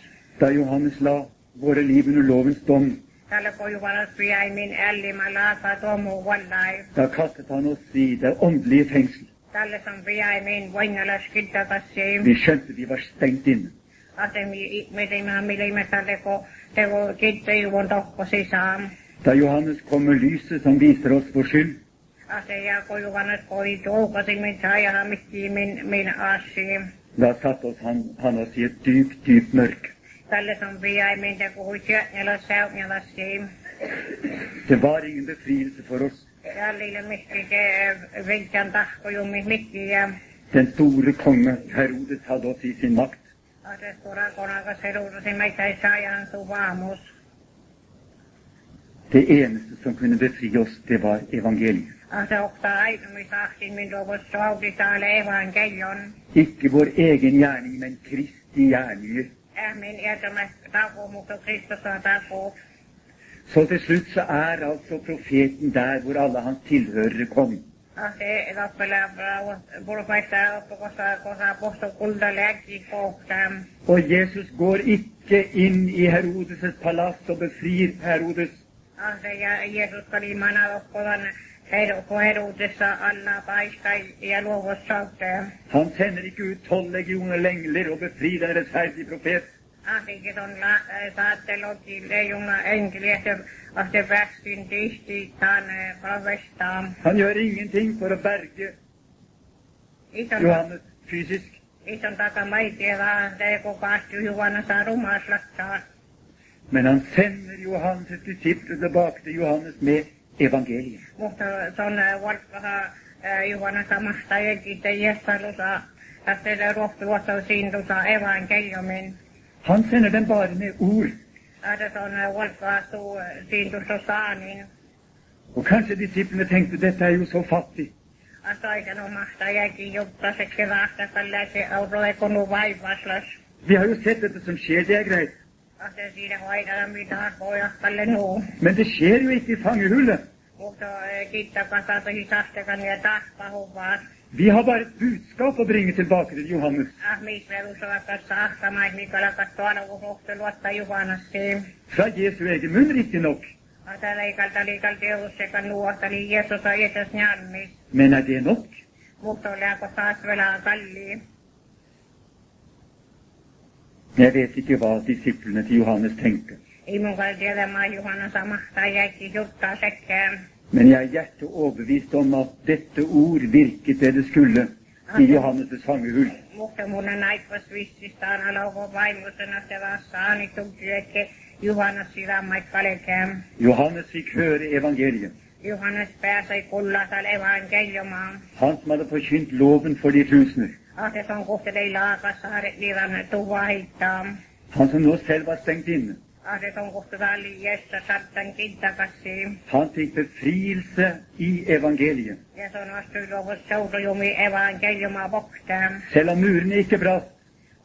Speaker 1: Da Johannes la våre liv under lovens dom,
Speaker 2: Tällä kun Juhannes pijäi min ällimä laasa tuomu vallai.
Speaker 1: da kastet han oss i det åndelige fengsel.
Speaker 2: Tällä on pijäi min voinnalas kittakassi.
Speaker 1: Vi skjønte vi var stengt inne.
Speaker 2: Asemi ihmisimme millimme tälle kun teko kittejuvon tohko sisään.
Speaker 1: Da Johannes kom med lyset som viser oss vår skyld,
Speaker 2: Ase ja kun Juhannes koi tuukasi min saajahan mikki min, min assi.
Speaker 1: da satte oss han, han oss i et dypt, dypt mørke.
Speaker 2: Tällä on pijäi min teko huitjätnelas säutnelassi.
Speaker 1: Det var ingen befrielse for oss.
Speaker 2: Tällä mikki se vilkan tahko jummi mikki ja
Speaker 1: Den store konge Herodes hadde oss i sin makt.
Speaker 2: Atestorakonaga se luulisi meitä ei saa ihan suvaamus.
Speaker 1: Det eneste som kunne befri oss, det var evangeliet.
Speaker 2: Ahte okta ainumisahti minua voisi auditaale evankelion.
Speaker 1: Ikke vår egen gjerning, men Kristi gjerninger.
Speaker 2: Ähmin jätämä tauko, mutta Kristus on tauko.
Speaker 1: Så til slutt så er altså profeten der hvor alle hans tilhørere kom.
Speaker 2: Ahte loppelä pulpaista oppukossa, kosa aposto kulta läki kohtaan.
Speaker 1: Og Jesus går ikke inn i Herodes' palass og befrir Herodes.
Speaker 2: Ahte Ah, ja Jeesus oli manavokkovan Herukko Herudessa anna paikka ja luovus sauteen.
Speaker 1: Han sender ikke ut tolv legioner lengler og befrir den rettferdige profet.
Speaker 2: Ainakin on la, saattelokin leijuna enkeliä, ahte västin tihti tämän provestaan.
Speaker 1: Han gjør ingenting for å berge
Speaker 2: Ison,
Speaker 1: Johannes fysisk.
Speaker 2: ison takamaitia vaan teko kahti juvanasa rumaslattaa.
Speaker 1: Men han sender Johannes' disipler tilbake til Johannes med evangeliet.
Speaker 2: Mutta se on ää, valkkaha ää, juvanasa mahtaa jälkistä jessalusa. Tästä ruohtuussa siintusa evankeliumin.
Speaker 1: Han sender dem bare med ord.
Speaker 2: Ahte se on ää, niin valkkaha suu siintussa saanin.
Speaker 1: Og kanskje disiplene tenkte dette er jo så fattig.
Speaker 2: Asoikan omasta jälki juppaseksi rahtakan läsi auroekonu vaivaslas.
Speaker 1: Vi har jo sett dette som skjer, det er greit.
Speaker 2: Ahte siinä hoidella mitään pojakalle nuu.
Speaker 1: Men det skjer jo ikke i fangehullet.
Speaker 2: Mutta kiittää kasata hisastakan ja taas pahuvaa.
Speaker 1: Vi har bare et budskap å bringe tilbake til Johannes.
Speaker 2: Ah, miisvelusovakas ahtamaan, mikä lakas tuolla uhuhtu luotta juhanasti.
Speaker 1: Fra Jesu egen munn, riktignok.
Speaker 2: Ahte leikalta liikalta jehussekan nuohta, niin Jeesus on Jeesus njalmis.
Speaker 1: Men er det nok?
Speaker 2: Mutta oleako taas velaa kallii.
Speaker 1: Jeg vet ikke hva disiplene til Johannes tenkte.
Speaker 2: Ei mun kai tiedä, mä Juhana samahtaa jäkki juttaa sekään.
Speaker 1: Men jeg er hjertet overbevist om at dette ord virket det det skulle i Johannes' fangehull.
Speaker 2: Mutta mun on aikas vissistään alauko vaimusena se vastaan, niin tuntuu, että Juhannes sydämäit kalekään.
Speaker 1: Johannes fikk høre evangeliet.
Speaker 2: Juhannes pääsee kullasal evankeliumaan.
Speaker 1: Han som hadde forkynt loven for de tusener.
Speaker 2: Ahtes on kuhtelei laakasaaret liivan tuvahittaa.
Speaker 1: Han som nå selv var stengt inne.
Speaker 2: Ahtes on kuhtelali jessa sattan kintakassi.
Speaker 1: Han fikk befrielse i evangeliet.
Speaker 2: Ja se on vastu luovus seurujumi evankeliumaa vokstaan.
Speaker 1: Selv om murene ikke brast,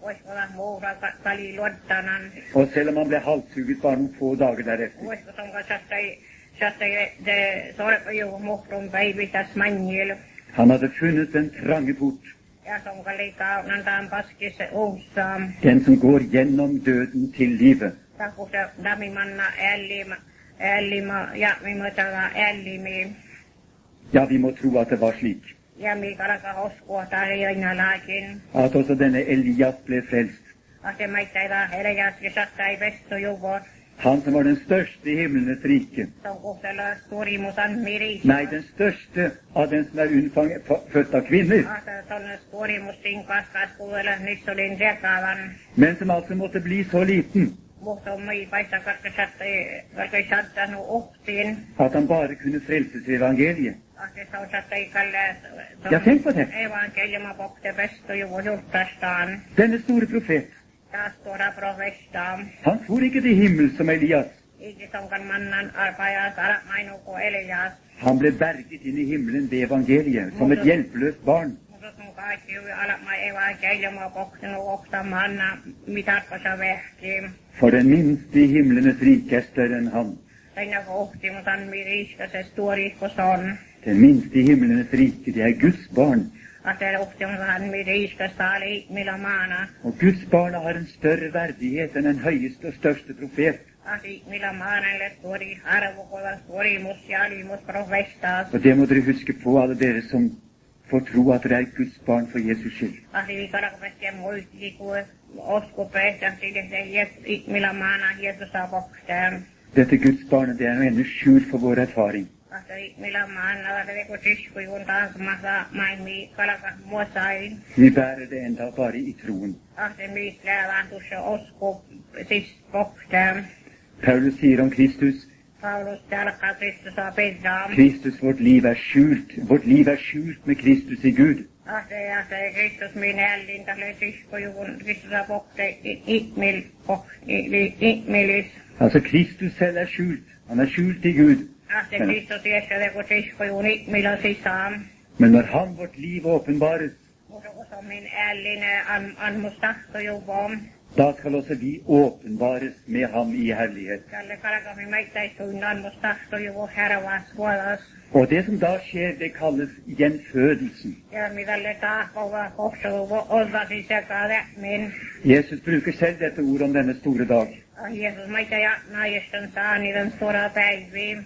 Speaker 2: Voisiko olla muuta ka- kali luottanan.
Speaker 1: og selv om han ble halshugget bare noen få dager deretter.
Speaker 2: Voisiko se onko sattai, sattai de sorpaju muhtum päivitäs manjil.
Speaker 1: Han hadde funnet den trange port,
Speaker 2: Ja se onko liikaa nantaan paskissa uussaam.
Speaker 1: den som går gjennom døden til livet.
Speaker 2: Taku se damimanna ällima, ällima ja mimotava ällimiin.
Speaker 1: Ja, vi må tro at det var slik.
Speaker 2: ja mikä alkaa uskoa tarjoina laakin.
Speaker 1: At også denne Elias ble frelst.
Speaker 2: Asemaita ei vaan herjaa, ja sattaa ei vestu juvoa.
Speaker 1: Han som var den største i himlenes rike.
Speaker 2: Se on kohtella suurimus on miri.
Speaker 1: Nei, den største av den som er unnfanget, fa- født av kvinner.
Speaker 2: Asa tuonne suurimus tinkas kaskuudella, nyt olin sekavan.
Speaker 1: Men som altså måtte bli så liten
Speaker 2: Mutta on mui paista, koska sattai, koska ei sattanut uhtiin.
Speaker 1: at han bare kunne frelses i evangeliet.
Speaker 2: Asa se on sattai kalle.
Speaker 1: Ja tänk på det.
Speaker 2: Evankeliuma pohte vestu juvo juttastaan.
Speaker 1: Denne store profet,
Speaker 2: Taas tuoda provestaan.
Speaker 1: han for ikke til himmel som Elias.
Speaker 2: Iki sonkan mannan arpajas, alat mainuko elias.
Speaker 1: Han ble berget inn i himmelen ved evangeliet, som et hjelpeløst barn.
Speaker 2: Mutta sun kaikki yli alamma ei vaan keijama koksinut oksamaan, mitä se vehkii.
Speaker 1: For den minste i himlenes rike er større enn han.
Speaker 2: Tänne kohti, mutta on miriska se tuorihko son.
Speaker 1: Den minste i himlenes rike, det er Guds barn.
Speaker 2: Asel uhti, mutta on miriska saali millä maana.
Speaker 1: Og Guds barna har en større verdighet enn den høyeste og største profet.
Speaker 2: Asi millä maanelle tuori arvokola tuorimus ja alimus profestas.
Speaker 1: Og det må dere huske på, alle dere som får tro at dere er Guds barn for Jesus skyld.
Speaker 2: Asi viikarakvesti muisti, kun osko päästä sille se jes- millä maana Jeesus saa kokseen.
Speaker 1: Dette Guds barnet, det er noe ennå skjult for vår erfaring.
Speaker 2: Asi millä maana, kun tisku juontaa masa maailmi kalakas muosain.
Speaker 1: Vi bærer det enda bare i troen.
Speaker 2: att det mitläävän tuossa osko siis kohtaan.
Speaker 1: Paulus sier om Kristus
Speaker 2: Paulus alkaa Kristus saa pidään.
Speaker 1: Kristus, vårt liv er skjult. Vårt liv er skjult med Kristus i Gud.
Speaker 2: Att, att Kristus min hellintä löi siskojuvun Kristus vokte ihmil och ihmilis.
Speaker 1: Altså Kristus selv er skjult. Han er skjult i Gud.
Speaker 2: Att Kristus jäsade kun siskojuvun ihmilön sisään.
Speaker 1: Men når Han vårt liv åpenbares,
Speaker 2: Mutta osa min ällinen an, an mustahtojuvun.
Speaker 1: da skal også vi åpenbares med Ham i herlighet.
Speaker 2: Tälle kalkami meittäistunnan mustahtojuvun hervas vuodas.
Speaker 1: Og det som da skjer, det kalles gjenfødelsen.
Speaker 2: Ja mitä le taas kova kohtuuvu oltasi sekä lämmin.
Speaker 1: Jesus bruker selv dette ordet om denne store dag.
Speaker 2: Jeesus meitä ja naisten saa niiden suora päiviin.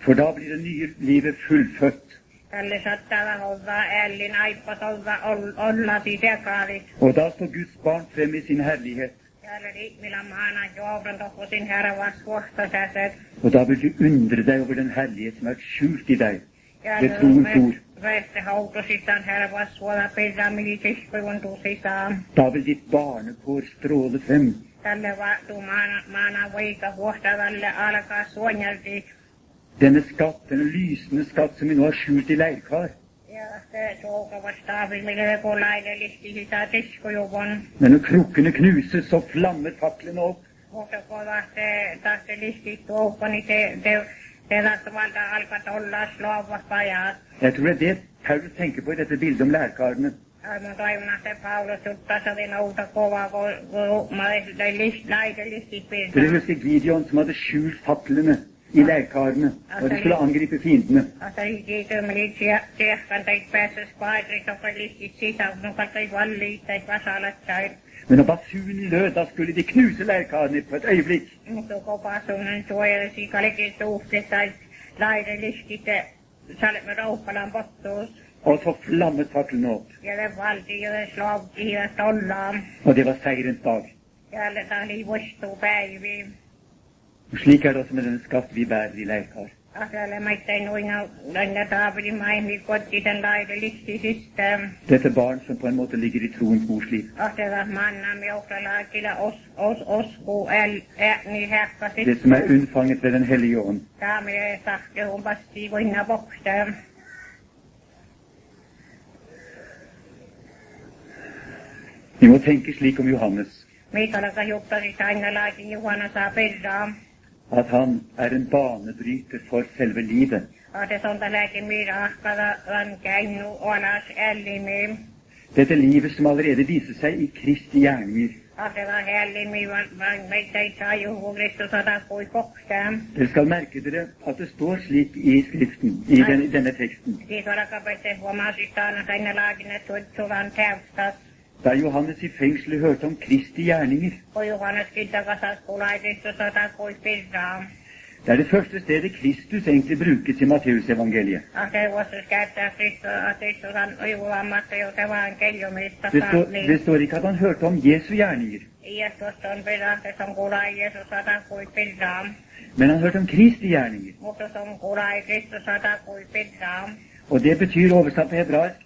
Speaker 1: For da blir det nye livet fullfødt.
Speaker 2: Tälle saattaa olla ällin aippas olla, ol- olla sisäkaalit.
Speaker 1: Og da står Guds barn frem i sin herlighet.
Speaker 2: Täällä Riikmillä maana joudun tohkusin hervas kohtasäset.
Speaker 1: Og da vil du undre deg over den herlighet som er skjult i deg.
Speaker 2: Täällä
Speaker 1: Nyt tuun suur.
Speaker 2: Vette hautusistaan hervas suola siis pesamilitiskuun tusisaan.
Speaker 1: Da vil ditt barnekår stråle frem.
Speaker 2: Tälle vaattu maana, maana voika huohtavalle alkaa suonjalti.
Speaker 1: Denne skatt, denne lysende skatt som vi nå har skjult i leirkar.
Speaker 2: Ja se toukavat staavit, millä me kun laillelisti sitä tiskujuvon.
Speaker 1: Men når krukkene knuses, så flammer faklene opp.
Speaker 2: Mutta kun se tästä listit tuokko, niin se, se, se tasavalta alkaa olla luovat pajat.
Speaker 1: Jeg tror det er det Paulus tenker på i dette bildet om lærkarene.
Speaker 2: Aivan toivon, että Paulus juttaa sotin uutta kovaa, kun kun mä olen list, näitä
Speaker 1: Dere
Speaker 2: listit piirtänyt.
Speaker 1: husker Gideon som hadde skjult faklene i leirkarene når de skulle angripe fiendene.
Speaker 2: Että siitä meni siehkan tai päässä paikassa, joka listit sisään, kun katsoi vaan liittäisi vasalat tai
Speaker 1: Men når basunen lød, da skulle de knuse leirkarene på et øyeblikk.
Speaker 2: Mutta kopasunen suojelisi kaikki suhteet tai näitä listit, salme rouppalan pottuus.
Speaker 1: Og så flammet faklene opp.
Speaker 2: Ja ne valtioiden slavkiivat ollaan.
Speaker 1: Og det var seierens dag.
Speaker 2: Täällä tämä oli vuostupäiviin.
Speaker 1: Og slik er det også med denne skatt vi bærer i leirkar.
Speaker 2: Asialle mä tein noina niin lännä taapurin maimi kotisen laidelistisistä.
Speaker 1: Dette barn som på en måte ligger i troens mors liv.
Speaker 2: Asialla mannam johtalaakilla os, os, osku äl, ä, niin
Speaker 1: Det
Speaker 2: häppäsit.
Speaker 1: som er unnfanget ved Den hellige ånd.
Speaker 2: Taamille sahti on passi voinna boksta.
Speaker 1: Vi må tenke slik om Johannes,
Speaker 2: Meitä alkaa juttasit aina laitin juhana saa perraa.
Speaker 1: at han er en banebryter for selve livet.
Speaker 2: Ate sonta lääkin miira ahkada on käynyt olas ällimiin.
Speaker 1: Dette livet som allerede viser seg i Kristi gjerninger.
Speaker 2: Asela hellimmin, vaan, vaan meitä ei saa juhlista sata kuin koksaan.
Speaker 1: Dere skal merke dere at det står slik i Skriften, i den, i denne teksten.
Speaker 2: Siis alkapette huomasista aina aina laakinen tutsuvan täystas.
Speaker 1: Da Johannes i fengselet hørte om Kristi gjerninger.
Speaker 2: Kun juhannuskin takasas kulaisista sata kuin pirraa.
Speaker 1: Det er det første stedet Kristus egentlig brukes i Matteusevangeliet.
Speaker 2: Aseuostus käyttää Kristusan juhlammasta jo kevään keljumista
Speaker 1: Det, står- det
Speaker 2: saakliin.
Speaker 1: står ikke at han hørte om Jesu gjerninger,
Speaker 2: Iestus on pirrahtes on kulai Jeesus sata kuin pirraa.
Speaker 1: men han hørte om Kristi gjerninger.
Speaker 2: Mutta se on kulai Kristus sata kuin pirraa.
Speaker 1: Og det betyr oversatt på hebraisk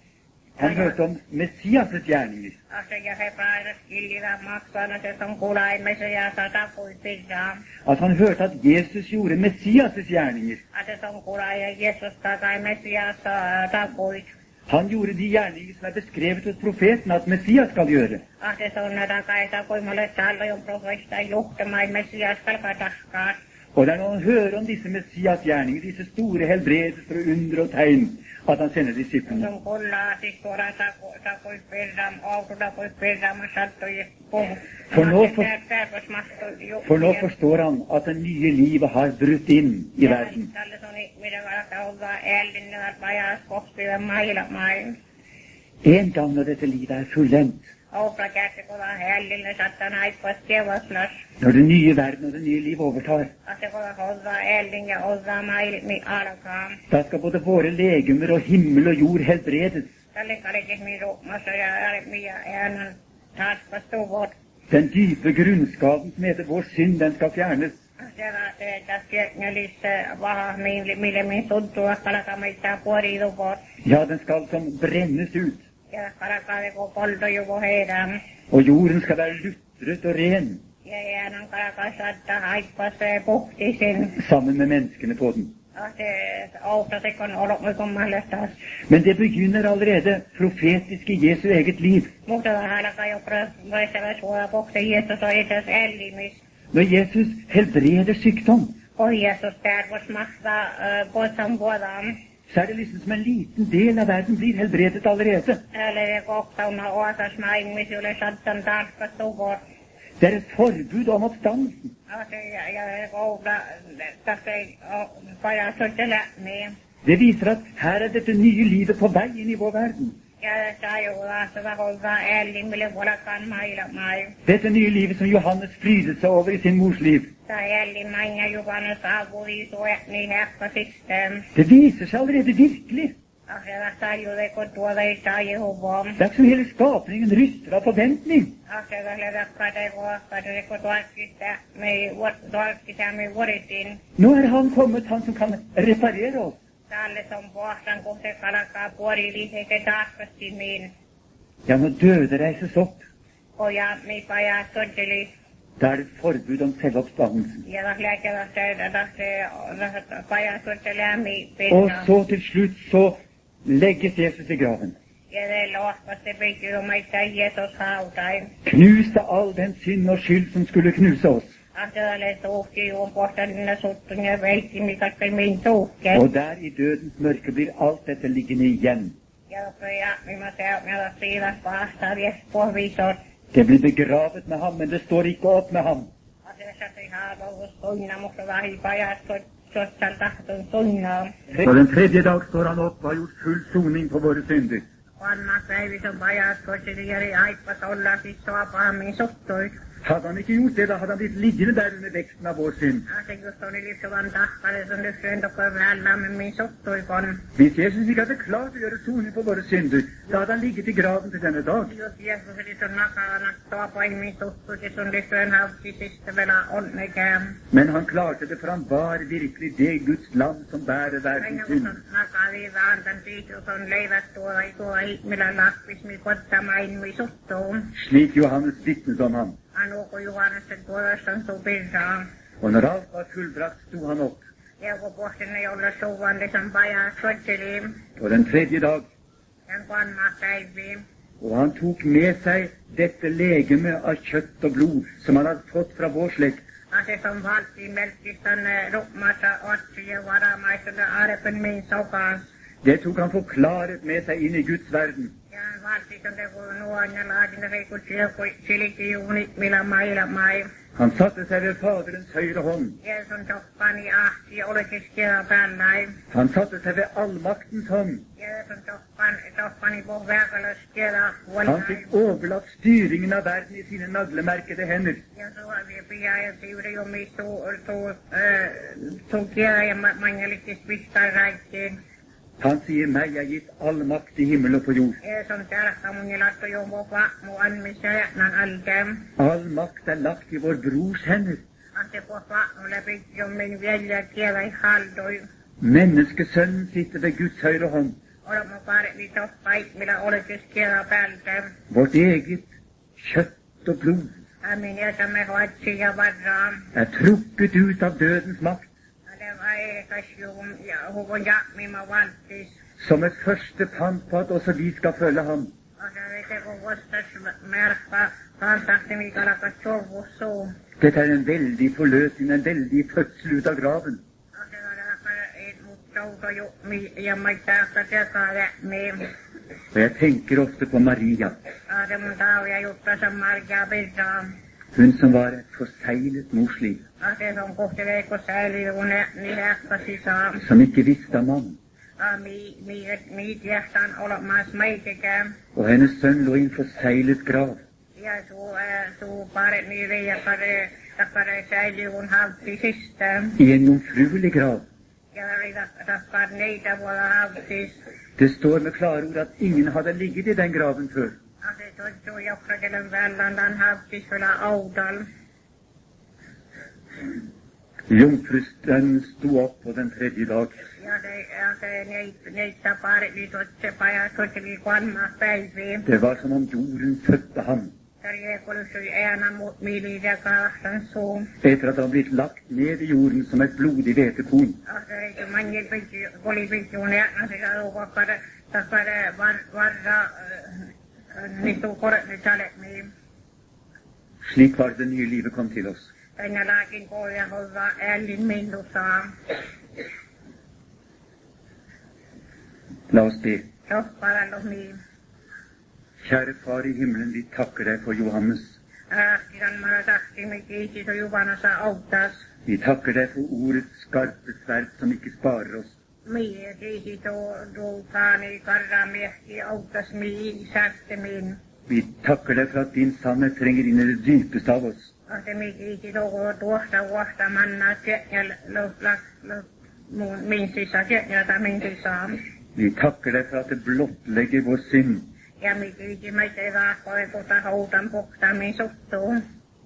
Speaker 1: han hørte om Messias' gjerninger.
Speaker 2: Ase ja hebraiset illillä maksaana se on kulaimessa ja sata kuin pirraa.
Speaker 1: At han hørte at Jesus gjorde Messias' gjerninger.
Speaker 2: Ase on kulaja Jeesus takai messiassa takuit.
Speaker 1: Han gjorde de gjerninger som er beskrevet hos profeten at Messias skal gjøre.
Speaker 2: Ase on takai takui mulle sallojon profeista juhtamai messias kalkatahkaas.
Speaker 1: Og det er når han hører om disse Messias' gjerninger, disse store helbredelser og under og tegn, at han sender
Speaker 2: Se
Speaker 1: disiplene.
Speaker 2: on kullaa siis tuoda takui pirraa, outuda kuin pirraa, mä sattui puhu.
Speaker 1: For nå for- For nå
Speaker 2: for...
Speaker 1: forstår han at det nye livet har brutt inn i verden.
Speaker 2: Tällä on mitä varata olla ällinen vajaas kohtuuden mailla mailla.
Speaker 1: En gang når dette livet er fullendt,
Speaker 2: Oukla käsi kova hällillä sattan aippas kevaslas.
Speaker 1: når den nye verden og det nye liv overtar,
Speaker 2: Ase kova hozza ällin ja hozza mailmi alkaa.
Speaker 1: da skal både våre legemer og himmel og jord helbredes.
Speaker 2: Tälle kalikis mi ruumassa ja ärmi ja äänän taaspas tuvot.
Speaker 1: Den dype grunnskaden som heter vår synd, den skal fjernes.
Speaker 2: Siellä se tässä nelissä vaha, mille mille min tuntua kalaka meitä puorituvot.
Speaker 1: Ja, den skal som brennes ut.
Speaker 2: Ja kalaka veko polto juvo heidän.
Speaker 1: Og jorden skal være lutret og ren
Speaker 2: Ja äänän kalaka satta aippas puhtisin.
Speaker 1: sammen med menneskene på den.
Speaker 2: at eh, alt at jeg kan holde opp med gammel løfter.
Speaker 1: Men det begynner allerede profetisk i Jesu eget liv.
Speaker 2: Mutta vähän aikaa jo pröistävä suoja kohti Jeesus on itse asiassa ellimis.
Speaker 1: Når Jesus helbreder sykdom,
Speaker 2: Kun Jeesus tervos maksaa poistan vuodaan.
Speaker 1: så er det liksom som en liten del av verden blir helbredet allerede.
Speaker 2: Täällä ei kohtauna oasas mä ihmisille sattan tarkka tuvor.
Speaker 1: Det er et forbud om oppstandelsen.
Speaker 2: Ja, ja kouda, tässä ei ole pajaa sotella niin.
Speaker 1: Det viser at her er dette nye livet på vei inn i vår verden.
Speaker 2: Ja saa jo vastata kovaa ellimille vuodakaan mailla mailla.
Speaker 1: Dette nye livet som Johannes frydet seg over i sin mors liv.
Speaker 2: Saa ellimain ja juvannus avui suojat niin heppa sitten.
Speaker 1: Det viser seg allerede virkelig.
Speaker 2: Ahjalla saa juveko tuolla ei saa jehuvoa.
Speaker 1: Det er ikke som hele skapningen ryster av forventning.
Speaker 2: Ah, asiakalle rakkaita ja kohtaisia, kun tuolkista me, vuor- tuolkista me vuorittiin.
Speaker 1: Nå er Han kommet, Han som kan reparere oss.
Speaker 2: Tälle on pohtan kohte kalakaa puoli lisäke tarkasti miin.
Speaker 1: Ja, når døde reises opp,
Speaker 2: Koja mi pajaa todeli
Speaker 1: da er det et forbud om selve oppstandelsen.
Speaker 2: ja tas lääkävä se, tas se pajaa todeli mi
Speaker 1: Og
Speaker 2: pinna.
Speaker 1: så til slutt så legges Jesus i graven.
Speaker 2: Ja se lohkasti pittyy maista Jeesus hautain.
Speaker 1: Knuste all den synd og skyld som skulle knuse oss.
Speaker 2: Asiakalle tuhki juon pohtan minä suttun ja veikki, mikä kai min tuhke.
Speaker 1: Og der i dødens mørke blir alt dette liggende igjen.
Speaker 2: Ja pojaa mi mä se, mä tas siilas pahtaa vies pohvisot.
Speaker 1: Det blir begravet med ham, men det står ikke opp med ham.
Speaker 2: Asiassa ihan ollut tunna, mutta vähän pajat tuossa tahtoi tunna.
Speaker 1: På den tredje dag står han opp og har gjort full soning for våre synder.
Speaker 2: Vanna päivissä pajat tuossa liiari aippas olla siis sua pahemmin suhtui.
Speaker 1: Hadde han ikke gjort det, da hadde han blitt liggende der under veksten av vår synd.
Speaker 2: Asia just oli liiksuvan tahkalle, se on lyksyen toko vähällämmin suhtui, kun
Speaker 1: Hvis Jesus ikke hadde klart å gjøre soning for våre synder, da hadde han ligget i graven til denne dag.
Speaker 2: jos Jeesus oli sun nakana, sua pahemmin suhtui, se sun lyksyen hauktisista vielä onnekään.
Speaker 1: Men han klarte det, for han var virkelig det Guds lam som bærer
Speaker 2: Aina
Speaker 1: verdens
Speaker 2: kun
Speaker 1: synd.
Speaker 2: on nakaviiva antan tiitus on leivät tuolla, ei tuo ihmillä lappis, mi kottamain, mi suhtuu.
Speaker 1: Slik Johannes vitnet om ham.
Speaker 2: Anuko Juhanneksen tuolesta on supinsaa.
Speaker 1: Og når alt var fullbrakt, sto han opp.
Speaker 2: Ja kun pohtin ei olla suvan, niin sen pajaa soitteliin.
Speaker 1: På den tredje dag,
Speaker 2: Sen kanmaa päiviin.
Speaker 1: og han tok med seg dette legeme av kjøtt og blod som han hadde fått fra vår slekt.
Speaker 2: Ases on valtiin melkistön rummassa otsi ja varamaisen arpen min sokaan.
Speaker 1: Det tok han forklaret med seg inn i Guds verden.
Speaker 2: Ja valtiin se kun nuon ja laadin reikun sielkui silki juuni millä mailla mai.
Speaker 1: Han satte seg ved Faderens høyre hånd.
Speaker 2: Jeesus on toppani ahti siis olisi siellä päälläin.
Speaker 1: Han satte seg ved allmaktens hånd.
Speaker 2: Jeesus on toppan, toppani pohjaakalus siellä
Speaker 1: Han
Speaker 2: huolinain.
Speaker 1: fikk overlatt styringen av verden i sine naglemerkede hender.
Speaker 2: Ja så har vi begärt det om vi så så eh så gör jag många lite spistar rätt.
Speaker 1: Han sier, meg er gitt all makt i himmel och på jord.
Speaker 2: Eh som där kan man ju låta ju vara och anmäla när alltid
Speaker 1: All makt er lagt i vår brors hender.
Speaker 2: att det får vara och lägga ju min välja gela i haldo.
Speaker 1: Menneskesønnen sitter ved Guds høyre hånd.
Speaker 2: Och de har bara vi toppa i mina olika skela bälten.
Speaker 1: Vårt eget kjøtt og blod
Speaker 2: Jag min hjärta med hårt sig varra.
Speaker 1: er trukket ut av dødens makt
Speaker 2: Det var ekasjon, ja, huvon ja, mimma valtis.
Speaker 1: som et første pant på at også vi skal følge ham.
Speaker 2: Och det vet jag på vostas märka, kantakti mikä lakas sovussuun.
Speaker 1: Dette er en veldig forløsning, en veldig fødsel ut av graven.
Speaker 2: ja ma ei taha seda läbi ,
Speaker 1: Og jeg tenker ofte på Maria,
Speaker 2: aga mul Taavi jutus on Marja Pirsa ,
Speaker 1: hun som var et forseglet morsliv,
Speaker 2: aga see on kohtuväikus säilivune , nii tähtsas isa ,
Speaker 1: som ikke visste av mann.
Speaker 2: aga nii , nii , nii tähtis on olemas meidega
Speaker 1: Og hennes sønn lå i en forseglet grav.
Speaker 2: ja su , su pare , nii leiakare , takkare säilivun halti sisse
Speaker 1: I en jomfruelig grav.
Speaker 2: ja takkar neid võib-olla haltis ,
Speaker 1: Det står med klare ord at ingen hadde ligget i den graven før.
Speaker 2: aga see tundu jokradel on väljend on haltis üle haudal
Speaker 1: Jomfrustønnen sto opp på den tredje dag.
Speaker 2: Ja se, ja se neid, neid niin parit, niin tuossa se paja, tuossa oli kolmas päivä.
Speaker 1: Det var som om jorden fødte ham.
Speaker 2: Karjeekolus oli ääna mu- mili ja kaahtan suun.
Speaker 1: etter at det var blitt lagt ned i jorden som et blodig hvetekorn.
Speaker 2: Ahterikki manjil pinti, koli pinti on ääna sillä luukua kare, takare var, varra, äh, nitu kore, nitalet miin.
Speaker 1: Slik var det det nye livet kom til oss.
Speaker 2: Tänne laakin koja hovaa ällin minnusaa.
Speaker 1: La oss be.
Speaker 2: Johpalallu miin.
Speaker 1: Kjære Far i himmelen, vi takker deg for Johannes.
Speaker 2: Ahtiran maa tahtimi kiitis on juvanasa autas.
Speaker 1: Vi takker deg for ordets skarpe sverd som ikke sparer oss.
Speaker 2: Mie kiitis on ruutaani karramieski autas miin, säästämiin.
Speaker 1: Vi takker deg for at din sannhet trenger inn i det dypeste av oss.
Speaker 2: Asemikiksi tuo tuosta vuosta manna tjäljällä mun minsissä tjäljätä minsissä.
Speaker 1: Vi takker deg for at det blottlegger vår synd
Speaker 2: Ja mikiksi mä te vaakoi tuota houtan puhtaamin suttuun.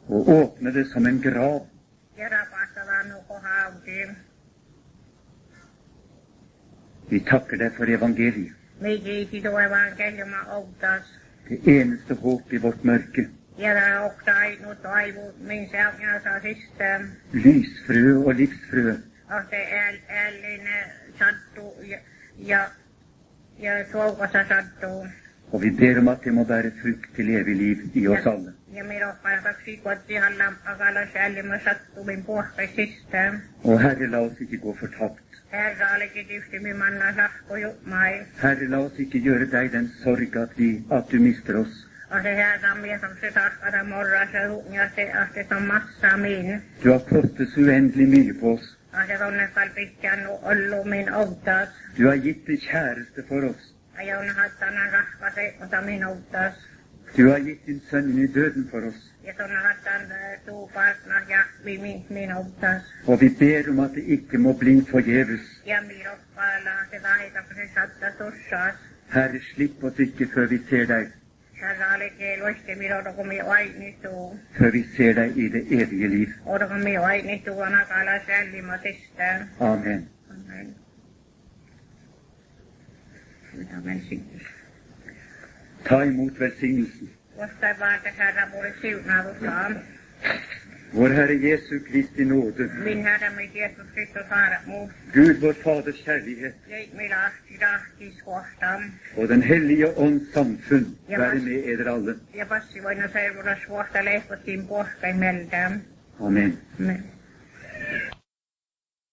Speaker 1: og åpner det som en grav.
Speaker 2: Ja rapastavaan nuko hautiin.
Speaker 1: Vi takker deg for evangeliet,
Speaker 2: Mikiksi tuo evankeliuma outas.
Speaker 1: det eneste håp i vårt mørke.
Speaker 2: Ja tää ohtai nu toivu min säljätä sisään.
Speaker 1: Lysfrø og livsfrø.
Speaker 2: Ahte äl, ällinen sattuu ja, ja, ja tuokassa sattuu.
Speaker 1: Og vi ber om at det må bære frukt til evig liv i oss alle.
Speaker 2: Ja minä olen päiväksi kotiin lampakalla säällimässä tulin puhkaisista.
Speaker 1: Og Herre, la oss ikke gå fortapt.
Speaker 2: Herra olikin tietysti minä lahko jutmai.
Speaker 1: Herre, la oss ikke gjøre deg den sorg at, vi, at du mister oss.
Speaker 2: Ja se herra mies on se tahkata morra se ja se ahte on massa min.
Speaker 1: Du har kostet så uendelig mye på oss.
Speaker 2: Ja se tonne kalpikkään ollut min outtas.
Speaker 1: Du har gitt det kjæreste for oss.
Speaker 2: Ja on hattana rahka se ota min outtas.
Speaker 1: Du har gitt din sønn inn i døden for oss.
Speaker 2: Ja tonne hattan tuupartna ja min, min outtas.
Speaker 1: Og vi ber om at det ikke må bli forgjeves.
Speaker 2: Ja minä olen päällä se vaita kun se satta tussas.
Speaker 1: Herre, slipp oss ikke før vi ser deg,
Speaker 2: Herra olikin luisti minä kun minä ainistuu.
Speaker 1: før vi ser deg i det evige liv.
Speaker 2: Ormi vainittu vanakala sällimätistä.
Speaker 1: Amen.
Speaker 2: Amen. Mitä menisin?
Speaker 1: Ta imot velsignelsen.
Speaker 2: Vastaan vaan, että Herra mulle siunausta.
Speaker 1: Vår Herre Jesu Kristi nåde,
Speaker 2: Min Herra, min Jeesus Kristus, Herra, muu.
Speaker 1: Gud vår Faders kjærlighet
Speaker 2: Leit minä ahti tahtis kohtaan.
Speaker 1: og Den hellige ånds samfunn være med eder alle.
Speaker 2: Ja passi voina seurata suosta lehkotiin pohkaimeltään.
Speaker 1: Amen.
Speaker 2: Amen.